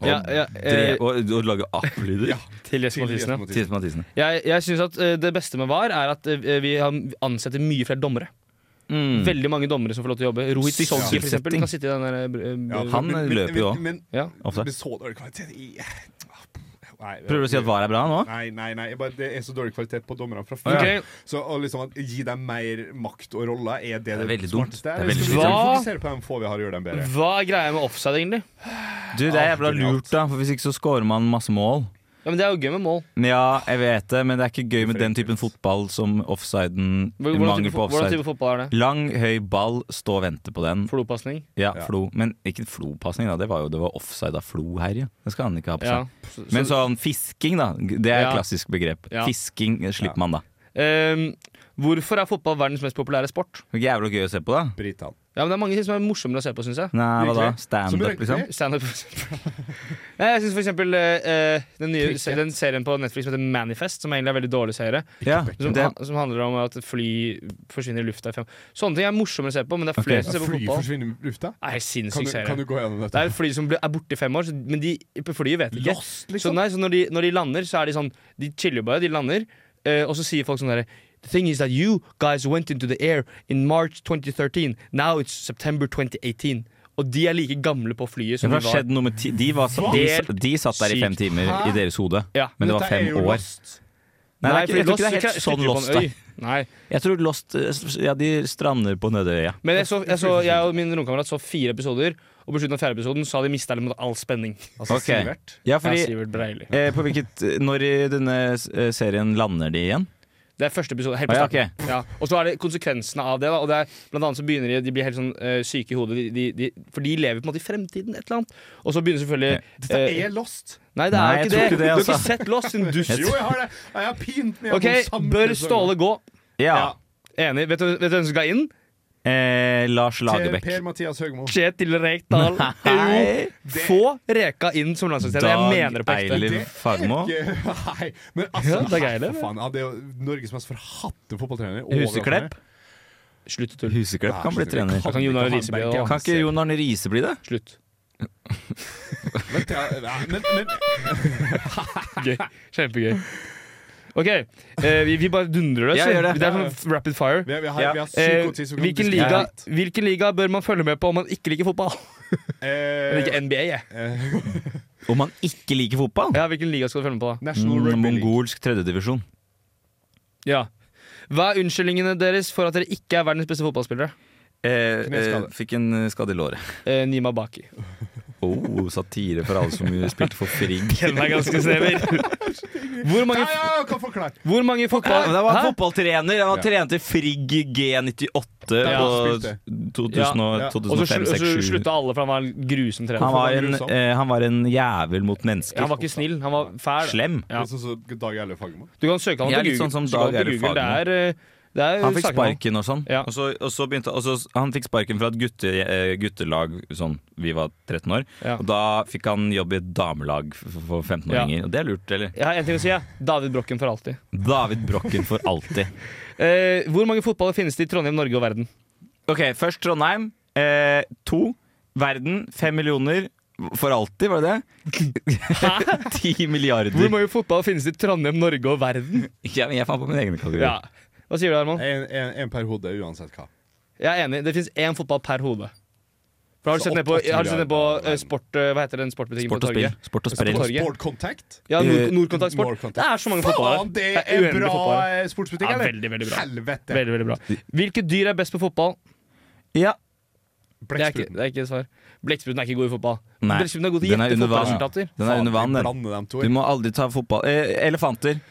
B: Ja, ja, eh,
C: Dre- og, og lage app-lyder.
A: Ja,
B: til Jesper
A: til Jesper
B: Mathisen. ja.
A: Mathisen.
C: Tine Mathisen.
B: Jeg, jeg syns at eh, det beste med var, er at eh, vi har- ansetter mye flere dommere.
C: Mm.
B: Veldig mange dommere som får lov til å jobbe. Rohit Solskjær, for eksempel.
C: Sysselsetting.
B: Kan sitte i den der, eh,
A: Ja,
B: eh,
C: Han løper jo også.
A: Men,
B: Ja.
C: Ofte.
A: men så dårlig kvalitet i Nei,
C: Prøver du å si at VAR er bra nå?
A: Nei, nei, nei. jeg Bare, det er så dårlig kvalitet på dommerne fra før.
B: Ok.
A: Så å liksom at gi dem mer makt og roller, er det det,
C: Det er veldig dumt.
A: smarteste?
C: Det er
A: Eller
C: veldig
A: skal vi
B: slitsomt.
A: fokusere på dem få vi har, og gjøre dem bedre?
B: Hva er greia med offside, egentlig?
C: Du,
B: Ah,
C: Det er jævla lurt, da, for hvis ikke så scorer man masse mål.
B: Ja, men Det er jo gøy med mål.
C: Men Ja, jeg vet det, men det er ikke gøy med den typen fotball som offsiden
B: Hvordan
C: Mangel
B: type,
C: på
B: fo- hvordan type
C: offside.
B: fotball er det?
C: Lang, høy ball, stå og vente på den.
B: Flopasning?
C: Ja, flo. Men ikke flopasning, da. Det var jo det var offside av flo her, ja. Det skal han ikke ha på
B: Ja.
C: seg. Men sånn fisking, da. Det er
B: Ja.
C: et klassisk begrep.
B: Ja.
C: Fisking eh, slipper man, da.
B: Ehm, hvorfor er fotball verdens mest populære sport?
C: Det er ikke jævla gøy å se på, da.
A: Britene.
B: Ja, men Det er mange ting som er morsommere å se på, syns jeg.
C: Nei, hva da?
A: Virkelig. Som
C: Standup,
A: rugby.
C: liksom?
B: Standup. Nei, jeg syns for eksempel eh, eh, den, nye, se- den serien på Netflix som heter Manifest, som egentlig er veldig dårlig serie,
C: Ja,
B: som,
C: det,
B: ha- som handler om at fly forsvinner i lufta i fem Sånne ting er morsommere å se på, men det er flere
C: Ok.
B: som ser på
A: Fly
B: fotball.
A: forsvinner i lufta?
B: Det er en
A: Kan
B: sinnssyk
A: du, kan
B: serie.
A: du gå gjennom
B: Det
A: dette?
B: er fly som blir- er borte i fem år, så- men de, flyet vet ikke.
A: Lost, liksom?
B: Så, nei, så når, de, når de lander, så er de sånn De chiller bare, de lander, eh, og så sier folk sånn derre The thing is that you guys went into the air in March 2013. Now it's September 2018. Og de er like gamle på flyet som
C: det
B: de var.
C: har skjedd noe med ti, de, var, sa- de, sa- de satt der i fem
B: Sykt.
C: timer i deres hode,
B: Ja,
C: men det var
A: Dette er
C: fem
A: jo
C: år.
A: lost.
C: Nei, det er ikke, jeg tror
B: for
C: ikke det er
B: Lost-
C: helt sånn
B: slutter på
C: lost,
B: en
C: da.
B: øy. Nei.
C: Jeg tror Lost eh, Ja, de strander på Nødøya.
B: Men jeg, så, jeg, så, jeg og min romkamerat så fire episoder, og på slutten av fjerde episoden så hadde de mista all spenning.
A: Altså
C: Ok.
A: Sivert.
C: Ja,
B: Ja,
C: fordi
B: Sivert Breili.
C: eh, på hvilket, Når i denne eh, serien lander de igjen?
B: Det er første episode. Helt på
C: Ah, ja,
B: starten. Ja. Og så er det konsekvensene av det. Da. Og det er, blant annet så begynner de De blir helt sånn eh, syke i hodet, de, de, de, for de lever på en måte i fremtiden. Et eller annet Og så begynner selvfølgelig
A: Dette
B: eh,
A: er lost.
B: Nei, det er
C: Nei,
B: jo
C: jeg
B: ikke det.
C: tror ikke det,
B: Du har
C: altså.
B: ikke sett Lost, din dust.
A: Jo, jeg har det! Jeg har pint meg
B: OK,
A: gjennom samtlige
B: bør
A: sanger.
B: Ståle gå?
C: Ja.
B: Enig. Vet du, vet du hvem som skal inn?
C: Eh, Lars
A: Per-
C: Lagerbäck.
A: Per Mathias Høgmo.
B: Kjetil Rekdal.
C: Nei.
B: Jo, få Reka inn som landslagstrener. Jeg mener det på ekte.
C: Eiliv Fagmo.
A: Nei, men
B: Ja,
A: altså
B: det er greier, det.
A: for faen, han er jo Norges mest forhatte fotballtrener.
C: Huseklepp.
B: Slutt å tulle.
C: Huseklepp kan bli trener.
B: Kan Jon Arne Riise bli det
C: Kan ikke Jon Arne Riise bli det?
B: Slutt.
A: Vent, ja, ja, men, men,
B: Gøy. Kjempegøy. OK, eh, vi, vi bare dundrer løs.
C: Ja, gjør det.
B: det er sånn rapid fire.
A: vi, vi har,
C: Ja.
A: vi har
B: Eh,
A: psykotid som kan
B: hvilken,
A: diskutere
B: liga,
A: alt.
B: hvilken liga bør man følge med på om man ikke liker fotball?
A: Eh,
B: Eller ikke NBA, jeg.
C: Om han ikke liker fotball?
B: Ja, hvilken liga skal du følge med på da?
A: National
C: Mm,
A: Rugby League.
C: mongolsk tredjedivisjon.
B: Ja. Hva er unnskyldningene deres for at dere ikke er verdens beste fotballspillere?
C: Eh, eh,
A: Kneskade.
C: fikk en eh, skade i låret.
B: Eh, Nima Baki.
C: Oh, satire for alle som spilte for Frigg.
B: Den er ganske snever. Hvor mange,
A: Ja, ja, kan forklare.
B: hvor mange fotball...
C: det var
B: Hæ?
C: fotballtrener. Han
A: Ja.
C: trente i Frigg G98
A: han
C: på
A: spilte.
C: 2000 og-
A: Ja. Og så
B: Og så slu- og så
C: 2005-2007.
B: slutta alle, for han var en grusom trener.
C: Han var, en,
A: grusom.
C: eh, han var en jævel mot mennesker.
B: Han var ikke snill, han var fæl.
C: Slem.
A: Det
B: Ja.
A: er sånn som Dag Erle Fagmo.
B: Du kan søke han
C: Jeg er
B: på
C: litt
B: Google.
C: sånn som
B: søke han
C: Dag
B: på
C: Erle
B: Google. Det
C: Fagermo.
B: er eh, Det er jo
C: Han fikk
B: saken om.
C: sparken og sånn.
B: Ja.
C: Og, så, og så begynte og så, Han fikk sparken fra et gutte, eh, guttelag sånn Vi var 13 år.
B: Ja.
C: Og da fikk han jobb i et damelag for for 15-åringer. Og det er lurt, eller?
B: Jeg har en ting å si. Ja. David Brokken for alltid.
C: David Brokken for alltid.
B: Eh, hvor mange fotballer finnes det i Trondheim, Norge og verden?
C: Ok, først Trondheim. Eh, to. Verden. Fem millioner. For alltid, var det det? Ti
B: Hvor
C: milliarder.
B: mange fotballer finnes det i Trondheim, Norge og verden?
C: Ja, men jeg fant på min egen kategori.
B: Ja. Hva sier du, Herman?
A: En, en, en per hode, uansett hva.
B: Jeg er enig. Det finnes én fotball per hode. For har
A: Så
B: du sett ned på,
A: åtte- åtte
B: har du sett ned på
A: milliarder.
B: eh, sport, eh, hva heter den sportbutikken
C: Sport
B: på
C: og spill.
B: torget?
C: Sport og
B: Sport og
C: sprell.
B: torget.
A: Sport Contact?
B: Ja,
C: Eh,
B: Nord Nordkontakt Sport.
A: Nordkontakt.
B: Det er så mange fotballer.
A: Faen, det er
B: uendelig
A: bra
B: fotballer.
A: eh, sportsbutikk,
B: Ja,
A: eller?
B: veldig, veldig bra.
A: Helvete.
B: Veldig, veldig bra. Hvilke dyr er best på fotball?
C: Ja.
B: Det er ikke, det er ikke et svar. Blekkspruten er ikke god i fotball.
C: Nei.
B: Blekkspruten er god til
C: Den er under vann.
B: gjettefotballresultater.
C: Den er under vann, den.
A: Blande dem to.
C: Du må aldri ta fotball eh, Elefanter.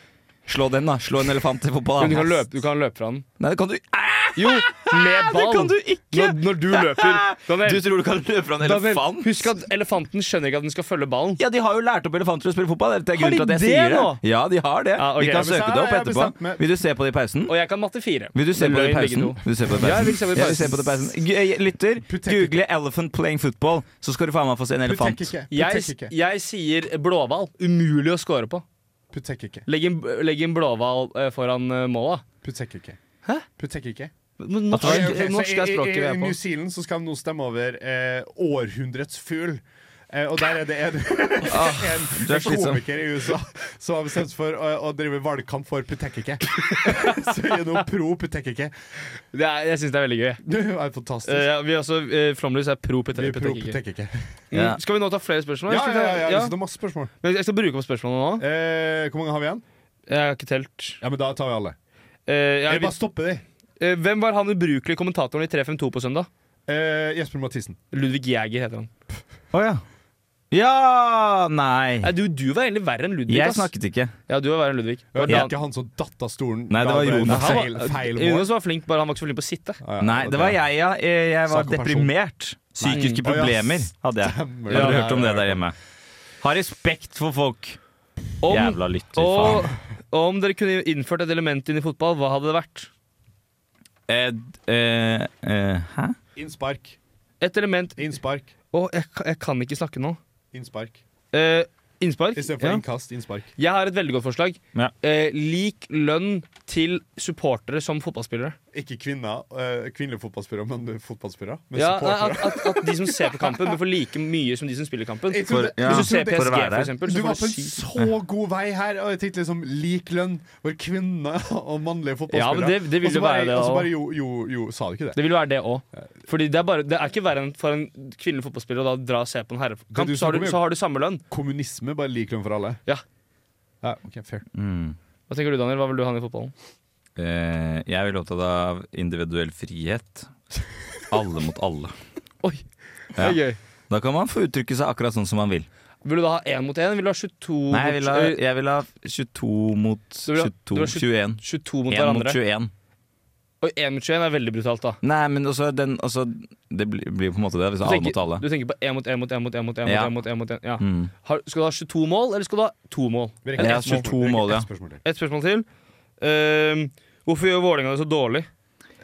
C: Slå den, da. Slå en elefant i fotball.
B: Men du
C: da.
B: kan, løpe, du kan løpe fra den.
C: Nei, det kan du Æ,
B: Jo, med
C: Det
B: ball!
C: kan du ikke!
B: Når, når du løper.
C: Du
B: Daniel,
C: tror du kan løpe fra en
B: Daniel,
C: elefant?
B: husk at elefanten skjønner ikke at den skal følge ballen.
C: Ja, de har jo lært opp elefanter å spille fotball. Det er
B: Har
C: grunnen
B: de
C: til at
B: det
C: jeg sier det.
B: nå?
C: Ja, de har det.
B: Ja, ok,
C: Vi
B: jeg
C: kan søke det
A: bestemmer-
C: opp
A: jeg
C: etterpå.
A: bestemmer.
C: Vil du se på det i pausen?
B: Og jeg kan matte fire.
C: Vil du se på det i
B: Løgn, begge
C: pausen?
B: to.
C: Vil du se på det i pausen?
B: Ja, jeg vil se på det i
C: Ja,
B: pausen.
C: se på det i pausen. G- eh, Lytter, google 'elephant playing football', så skal du faen meg få se en elefant.
A: Putek ikke. Putek
B: Jeg,
A: ikke.
B: jeg sier blåhval. Umulig å score på.
A: Putek ikke.
B: Legg en, legg en blåhval eh, foran eh, måla.
A: Putek ikke.
B: Hæ?
A: Putek ikke.
B: Men Norsk,
A: Ok, ok, så
B: norsk er
A: i-
B: språket vi
A: I, i
B: er på.
A: New Zealand så skal de nå stemme over eh, århundrets fugl. Eh, og der er det en,
B: Ah,
A: en,
C: du er
A: en
C: slitsom.
A: komiker i USA som har bestemt seg for å, å drive valgkamp for Putekike. så vi er nå pro Putekike.
B: Det er, jeg syns det er veldig gøy.
A: Det er fantastisk.
B: Eh, ja, vi er også, eh, Flomlys er pro
A: vi er pro
B: petekkiker.
A: Putekike.
C: Ja.
B: Mm. Skal vi nå ta flere spørsmål?
A: Ja, ja,
B: Skal vi
A: ja,
B: ta-
A: ja,
B: ja.
A: Så det er masse spørsmål.
B: Men Jeg skal bruke opp spørsmålene nå.
A: Eh, hvor mange har vi igjen?
B: Jeg har ikke telt.
A: Ja, men Da tar vi alle.
B: Eh, jeg,
A: Jeg bare stopper de.
B: eh, hvem var han ubrukelige kommentatoren i 352 på søndag?
A: Eh, Jesper Mathisen.
B: Ludvig Jæger heter han.
C: Å ja. Ja Nei.
B: Nei, du, du var egentlig verre enn Ludvig.
C: Jeg
B: ass.
C: snakket ikke.
B: Ja, du var verre enn Ludvig. Det
A: Det
B: var
A: var
B: Dan-
A: ikke han som datt av stolen.
C: Nei, det
A: Da
C: var
A: ble
C: Jonas.
A: Feil, feil mål.
B: Jonas var flink, bare han var ikke så flink på å sitte.
A: Ja, ja,
C: Nei, det var jeg, ja. Eh, Jeg var
A: Sak og person.
C: deprimert.
A: Å,
C: Psykiske
A: ja,
C: problemer hadde jeg.
A: stemmer.
C: Har dere
B: Ja,
C: hørt om
A: ja,
C: det der hjemme? Ha respekt for folk.
B: Om,
C: Jævla lytter,
B: og,
C: faen.
B: om dere kunne innført et element inn i fotball, hva hadde det vært?
C: Eh, eh, eh, hæ?
A: Innspark.
B: Et element
A: Innspark.
B: Å, jeg, ka- jeg kan ikke snakke nå.
A: Innspark.
B: Eh, innspark?
A: Istedenfor
B: Ja.
A: innkast, innspark.
B: Jeg har et veldig godt forslag.
C: Ja.
B: Eh, lik lønn til supportere som fotballspillere.
A: Ikke kvinner, eh, kvinnelige fotballspillere, men fotballspillere. Men
B: Ja, at,
A: supportere.
B: at, at de som ser på kampen, bør få like mye som de som spiller kampen.
A: Jeg
B: Hvis
A: trodde-
C: For- ja.
B: du ser
C: For å
B: PSG,
C: være
B: for
C: der.
A: Du
B: eksempel, så
A: var
B: får
A: på
B: du
A: en
B: sykt
A: så god vei her, og jeg tenkte liksom lik lønn for kvinner og mannlige fotballspillere.
B: Ja, men det- det vil
A: Og så
B: jo
A: bare-
B: være det
A: Og så
B: også.
A: bare jo, jo, jo, sa du ikke det?
B: Det vil være det òg. Fordi det er, bare, det er ikke verre enn for en kvinnelig fotballspiller å da dra og se på en
A: Det
B: herrekamp.
A: du
B: Så har,
A: snakker
B: du,
A: om,
B: så har du samme lønn.
A: Kommunisme, bare lik lønn for alle?
B: Ja.
A: Ja, ok, fair.
C: Mm.
B: Hva tenker du, Daniel? Hva vil du ha i fotballen?
C: Eh, jeg er veldig opptatt av individuell frihet. Alle mot alle.
B: Oi,
C: Ja.
B: det er gøy.
C: Da kan man få uttrykke seg akkurat sånn som man vil.
B: Vil du da ha én mot én? Vil du ha 22
C: Nei, jeg vil ha,
B: mot, eh,
C: jeg vil ha 22 mot
B: vil ha-
C: 22,
B: du vil ha
C: 21.
B: 22 mot
C: 1 mot
B: hverandre?
C: 21.
B: Og én mot 21 er veldig brutalt, da.
C: Nei, men også den også, Det blir blir på en måte det. Hvis
B: Du
C: alle
B: tenker,
C: mot alle.
B: du tenker på én mot én mot én mot én mot én.
C: Ja.
B: mot en mot en, ja.
C: Mm.
B: Har- Skal du ha 22 mål, eller skal du ha to mål?
A: Vi rekker
C: Jeg har
A: ett spørsmål.
C: 22
A: Vi rekker ett
C: mål, ja.
A: spørsmål til.
B: Et spørsmål til. Ehm, hvorfor gjør Vålerenga det så dårlig?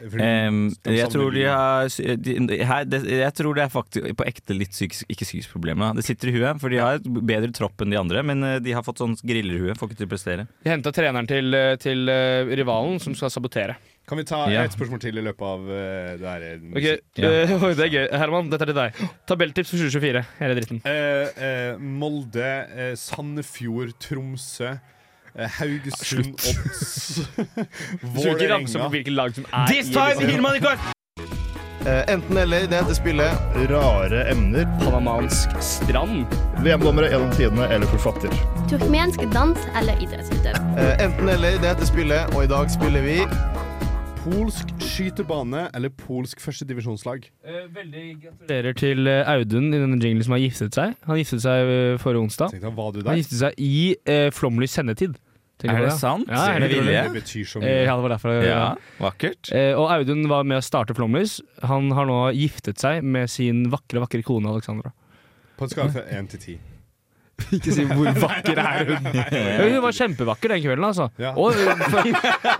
A: Eh, Fordi-
C: Em,
A: de
C: jeg,
A: samme
C: tror de
A: ligene.
C: har, de, her, det, jeg tror det er faktisk på ekte litt psykisk, ikke psykisk problem. da. Det sitter i huet, for de har et bedre tropp enn de andre. Men eh, de har fått sånn grillerhue. Får ikke til å prestere.
B: De henta treneren til, eh, til eh, rivalen, som skal sabotere.
A: Kan vi ta
C: Ja.
A: ett spørsmål til i løpet av eh, det her? eh,
B: Ok,
C: Ja.
B: eh, oi, Det er gøy. Herman, dette er til deg. Tabelltips for 2024. Hele dritten.
A: Eh, eh, Molde, eh, Sandefjord, Tromsø, eh, Haugesund, Odds,
B: Du skal ikke ramse
A: Vålerenga.
B: opp hvilke altså, lag som er i liksom eliteserien.
I: Enten eller, det heter spillet Rare emner.
B: Panamansk strand.
I: VM-dommere gjennom tidene eller forfatter.
J: Turkmensk dans eller idrettsutøver.
I: Eh, Enten eller, det heter spillet, og i dag spiller vi
A: Polsk skytebane eller polsk førstedivisjonslag?
B: veldig gratulerer til eh, Audun i denne jinglen som har giftet seg. Han giftet seg eh, forrige onsdag.
A: Tenkte han, var du
B: Han
A: der?
B: giftet seg i eh, Flåmlys sendetid. Tenker
C: Er
B: du på
C: det sant?
B: Ja, er det
C: Med vilje?
B: vilje? Eh,
A: Det betyr så mye.
B: Ja, det var derfor.
C: Ja,
B: Ja.
C: vakkert.
B: Eh, Og Audun var med å starte Flåmlys. Han har nå giftet seg med sin vakre, vakre kone Alexandra.
A: På en skala fra én til ti.
K: Ikke si hvor vakker er hun.
B: Hun var kjempevakker den kvelden, altså. Og,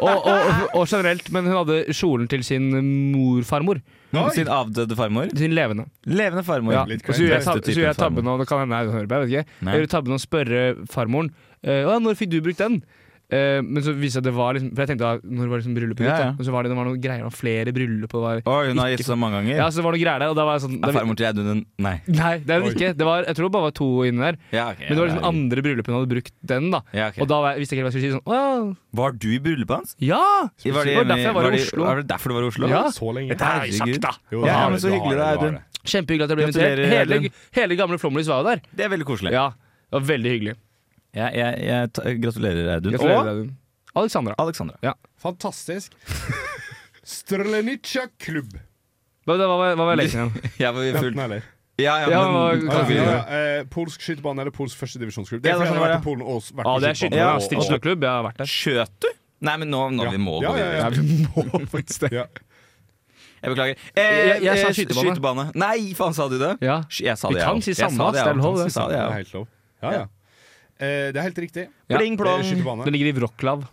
B: og, og, og generelt, men hun hadde kjolen til sin morfarmor.
C: Oi. Sin avdøde farmor?
B: Sin levende.
C: Levende farmor.
B: Ja. Og så gjør jeg, tab så gjør jeg tabben, og det kan hende hun hører på, jeg vet ikke.
C: Nei.
B: Jeg gjør tabben og spørre farmoren eh, «Å, 'Når fikk du brukt den?' Eh, men så viste det seg at det var liksom For jeg tenkte ah, når var liksom bryllupet ditt?
C: Ja, ja.
B: da? Og så var det, det var noen greier om flere bryllup. Og det var
C: Oi, hun har
B: ikke-
C: gitt så mange ganger.
B: Ja, så det var noen greier der. Og da var jeg sånn
C: Er farmor til Audun en Nei.
B: Nei, det er hun
C: Oi.
B: ikke. Det var, jeg tror det bare var to inne der.
C: Ja, ok,
B: men det var
C: ja,
B: liksom
C: ja.
B: andre bryllup hun hadde brukt den, da.
C: Ja, ok.
B: Og da var jeg, visste jeg ikke hva jeg skulle si. Sånn, «Å,
C: Var du i bryllupet hans?
B: Ja!
C: Det var,
B: Det var derfor jeg var i
C: det-
B: Oslo.
C: Var det derfor du var i Oslo?
B: Ja. Så lenge.
C: Dette er
B: Nei, sagt,
C: Herregud.
B: da. Jo,
C: Ja,
B: da har
C: men
B: det-
C: så
B: da
C: hyggelig det
B: har
C: er,
B: det- da
C: Audun.
B: Kjempehyggelig at jeg ble invitert.
C: Gratulerer,
B: Hele,
C: Audun.
B: hele gamle Flåmlys var jo der.
C: Det er veldig koselig.
B: Ja, det var veldig hyggelig.
C: Ja, jeg, jeg, ta- gratulerer, Audun.
B: Gratulerer,
C: Og-
B: Audun. Alexandra.
C: Alexandra.
B: Ja.
A: Fantastisk. Strelenica klubb.
B: Hva, hva, hva, hva var leken igjen?
C: Jeg var
A: Enten eller.
C: Ja, ja,
B: Ja,
C: men
B: men-
A: Ja,
C: kan vi
A: ja, ja. Eh, Polsk skytebane eller polsk førstedivisjonsklubb. Det
C: Ja,
A: er
C: det
A: fordi jeg
C: var
A: har
C: sånn,
A: vært i Polen og s- vært
B: Ja,
A: på
B: det er
A: skytebane.
B: skytebane.
C: Ja,
B: og Strikslagklubb. Jeg har vært der.
C: Skjøt du? Nei, men nå, nå vi må gå
B: Ja, ja,
C: videre.
B: ja.
C: vi må faktisk det. Jeg beklager. Eh,
B: Jeg- jeg sa
C: eh,
B: skytebane.
C: Nei, faen, sa du det?
B: Ja.
C: Sk- Jeg sa
B: Vi
C: det, jeg
B: kan
C: også.
B: si
C: Jeg sa
B: samme, det
C: det, jeg
B: er
C: også.
B: lov, det.
C: Jeg sa det,
A: Det
C: jeg
A: er
C: også.
A: helt lov. Ja, ja. Eh, det er helt riktig.
C: Ja. Pling plong.
A: Eh, Skytebane.
B: Den ligger i Wroclaw.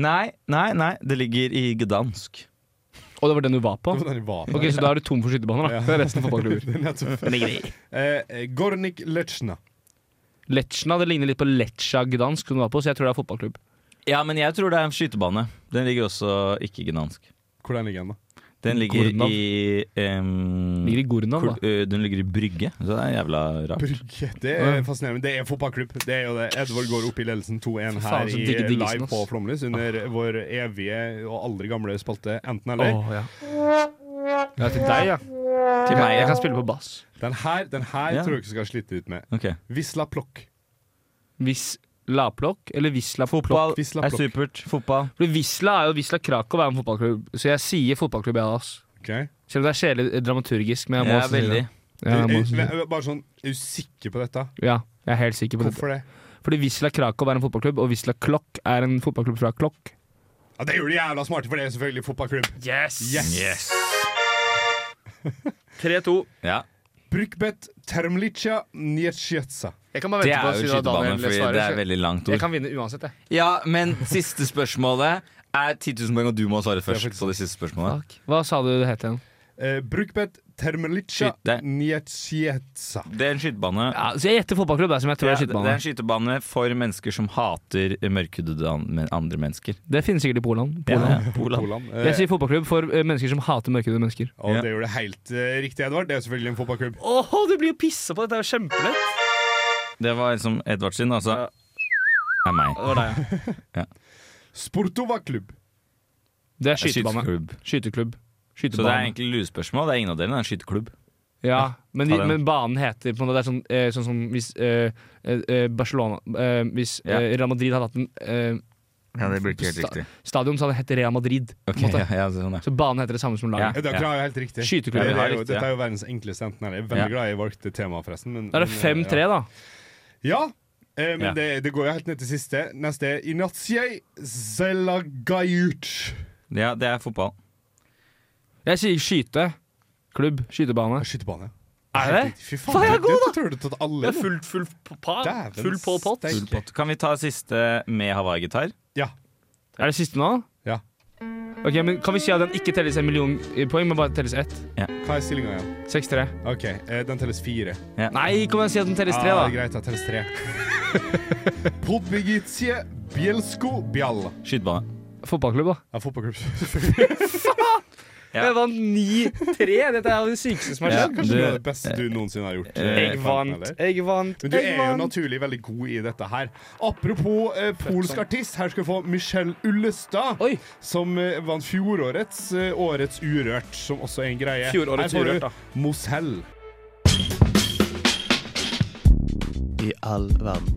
C: Nei, nei, nei. Det ligger i Gdansk.
B: Og det var den du var på?
A: Det var den jeg var på.
B: Ok, Så da er du tom for skytebaner, da. Det er resten av fotballklubber.
A: Nettopp.
B: Den ligger i.
A: Eh, Gornik Lechna.
B: Lechna, det ligner litt på Leccia Gdansk, som du var på, så jeg tror det er fotballklubb.
C: Ja, men jeg tror det er en skytebane. Den ligger også ikke i Gdansk.
A: Hvor den ligger den, da?
C: Den ligger
B: Gordnav.
C: i ehm,
B: Ligger i Gordnav,
C: Kor- ø, Den ligger i Brygge, så det er jævla rart.
A: Brygge. Det er fascinerende. Det er en fotballklubb. Det er jo det. Edvard går opp i ledelsen 2-1
B: Fy faen,
A: her
B: så
A: i
B: digge diggesen,
A: Live
B: ass.
A: på Flåmlys under vår evige og aldri gamle spalte Enten eller.
B: Åh, ja. Ja, til deg, ja.
A: Til meg, ja.
B: Jeg kan spille på bass.
A: Den her, den her
B: Ja.
A: tror jeg ikke skal slite ut med.
C: Ok.
A: Visla Plokk.
B: Hvis Laplokk eller Visla
C: Fotball
B: Plokk? Visla
C: er
B: Plokk.
C: supert. Fotball.
B: For Visla er jo Visla Krakow er en fotballklubb, så jeg sier fotballklubb, jeg, altså.
A: Okay.
B: Selv om det er kjedelig eh, dramaturgisk, men jeg må
C: Ja,
B: også si det.
C: veldig.
B: Ja,
A: Du,
B: jeg må
A: eh,
B: også si det.
A: men, bare sånn, er du sikker på dette?
B: Ja, jeg er helt sikker på
A: Hvorfor det?
B: Fordi Visla Krakow er en fotballklubb, og Visla Klokk er en fotballklubb fra Klokk.
A: Ja, Det er jo de jævla smarte, for det er selvfølgelig fotballklubb.
B: Yes!
C: Yes.
B: 3-2.
C: Ja.
A: Brukbet Termlica Nietsjetsa.
B: Jeg kan bare
C: Det
B: vente på å
C: er jo
B: si hva
C: skytebane,
B: Daniel
C: fordi
B: svarer.
C: det er veldig langt
B: Jeg
C: ord.
B: kan vinne uansett, jeg.
C: Ja, men siste spørsmålet er 10 000 poeng, og du må svare først. Så det siste spørsmålet
B: Hva sa du det het igjen?
A: Eh, Brukbet Termlica
C: Shit, det-
A: Nietsjetsa.
C: Det er en skytebane.
B: så jeg gjetter fotballklubb, som jeg tror
C: Ja,
B: er
C: det det
B: skytebane.
C: er en skytebane for mennesker som hater mørkhudede an- men andre mennesker.
B: Det finnes sikkert i Poland. Poland.
C: Ja, Poland.
A: Eh,
B: Jeg sier fotballklubb for eh, mennesker som hater mørkhudede mennesker.
A: Og det gjør det helt eh, riktig, Edvard. Det er selvfølgelig en fotballklubb.
B: Åh, du blir jo pissa på! Dette er jo kjempelett.
C: Det var liksom Edvard sin, altså. Det er meg.
B: Det var deg, ja.
A: Sportova klubb.
B: Det er
C: Det er
B: skytebane.
C: skyteklubb.
B: Skyteklubb.
C: Så det er
B: Skytebane.
C: egentlig lurespørsmål. Det er ingen av delene, det er en skyteklubb.
B: Ja, men, de,
C: Ta den.
B: men banen heter på en måte Det er sånn, eh, sånn som hvis eh, eh, Barcelona eh, Hvis
C: Ja.
B: eh, Real Madrid hadde hatt en eh,
C: Ja, det blir ikke helt
B: sta-
C: riktig.
B: Stadion så hadde det hett Real Madrid. på en
C: Ok,
B: måte.
C: ja, ja, sånn, ja.
B: Så banen heter det samme som laget.
A: Ja, dere har jo helt riktig.
B: Skyteklubb.
A: Ja, det er jo,
C: riktig,
A: dette er
C: ja.
A: jo verdens enkleste enten eller. Jeg er veldig
C: Ja.
A: glad jeg valgte temaet, forresten. Men,
B: Da er det
A: men, eh,
B: 5-3,
A: ja.
B: da.
A: Ja, eh, men
B: Ja.
A: Det, det går jo helt ned til siste. Neste er Inatsjej Zelagajuc.
C: Ja, det er fotball.
B: Jeg sier skyte. Klubb. Skytebane.
A: Skytebane.
B: Er det?
A: Fy faen,
B: Faen, jeg er
A: du-
B: god,
A: du tror du tatt alle
B: Det
A: nå.
B: er full, full p- pa-
A: Dæven
B: Full Pol Pot.
C: Full pott. Kan vi ta siste med Hawaii-gitar?
A: Ja.
B: Er det siste nå?
A: Ja.
B: Ok, men Kan vi si at den ikke telles en million i poeng, men bare telles ett?
A: Hva er stillinga igjen?
B: 6-3.
A: OK, eh, den telles fire.
B: Nei, kom igjen, si at den telles tre,
A: Ja,
B: da.
A: greit, da telles tre. Podbigitie Bielsko Bialla.
C: Skytebane.
B: Fotballklubb, da.
A: Ja, fotballklubb.
C: Ja.
B: Jeg vant 9-3! Dette er jo det sykeste som har
A: Ja,
B: skjedd.
A: kanskje det er det beste du noensinne har gjort.
C: Eh,
B: Jeg vant, jeg vant,
A: Men du
B: jeg
A: er jo
B: vant.
A: naturlig veldig god i dette her. Apropos eh,
C: sånn.
A: polsk artist, her skal du få Michelle Ullestad. Som eh, vant fjorårets eh, Årets Urørt, som også er en greie.
B: Fjorårets
A: her får
B: Urørt,
A: du
B: da.
A: Mosell.
L: i all verden.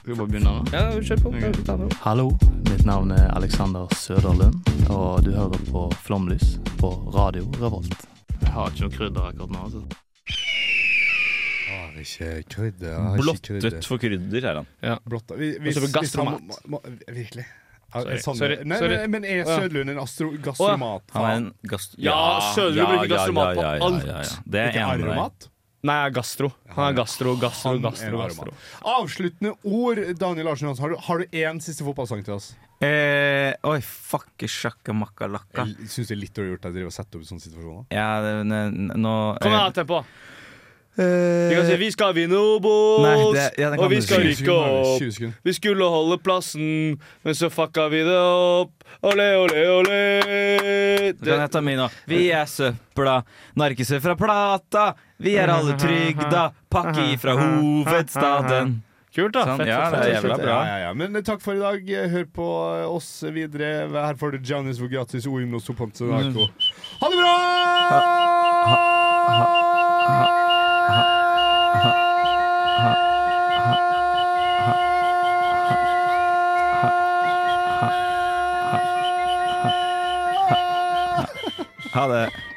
K: Skal vi bare begynne nå?
B: Ja, kjør på. Ta det opp.
L: Hallo, mitt navn er Alexander Søderlund, og du hører på Flomlys på Radio Revolt. Jeg har ikke noe krydder akkurat nå. altså.
A: Har ikke eh. krydder.
C: Blottet for krydder, er han.
B: Ja.
A: Blotta. Vi,
C: Og så for gastromat.
A: han må- må- må- Virkelig. Ja,
C: Sorry.
A: Sander-
C: Sorry.
A: Nei,
C: Sorry.
A: men- Men er
C: Å, ja.
A: Sødlund en astro gastromat?
C: Han er en gast...
B: Ja, Søderud bruker gastromat på alt.
C: Det er
A: Ikke
C: jeg enig med deg.
A: aromat?
G: Nei, gastro. Han er gastro, gastro,
A: en
G: gastro.
A: varm
G: gastro.
A: Avsluttende ord, Daniel Larsen Johansen. Har du- Har du én siste fotballsang til oss?
C: Eh, oi, fuck sjakka makka lakka.
A: Jeg syns det er litt dårlig gjort deg å drive og sette opp sånne situasjoner.
C: Ja, det, n- n- nå
G: Kom
C: eh,
G: igjen, tempo. Vi kan si 'Vi skal vinne Obos',
C: Nei, det- ja, den kan
G: og vi
C: du
G: skal
C: si. 20
G: rykke
C: sekunder,
G: opp.
C: 20 sekunder.
G: Vi skulle holde plassen, men så fucka vi det opp. Ole, ole, ole.
C: Nå kan jeg ta min nå. Vi er søpla, narkiser fra plata. Vi er alle trygda, pakke ifra hovedstaden.
G: Kult,
C: da. Fett,
A: Ja,
C: fett,
A: det er
C: fett.
A: jævla bra.
C: Ja, ja, ja.
A: Men eh, takk for i dag. Hør på eh, oss videre. Her får du Giannis Vogratis og Imno Sopantzanako. Ha det bra!
C: Ha det.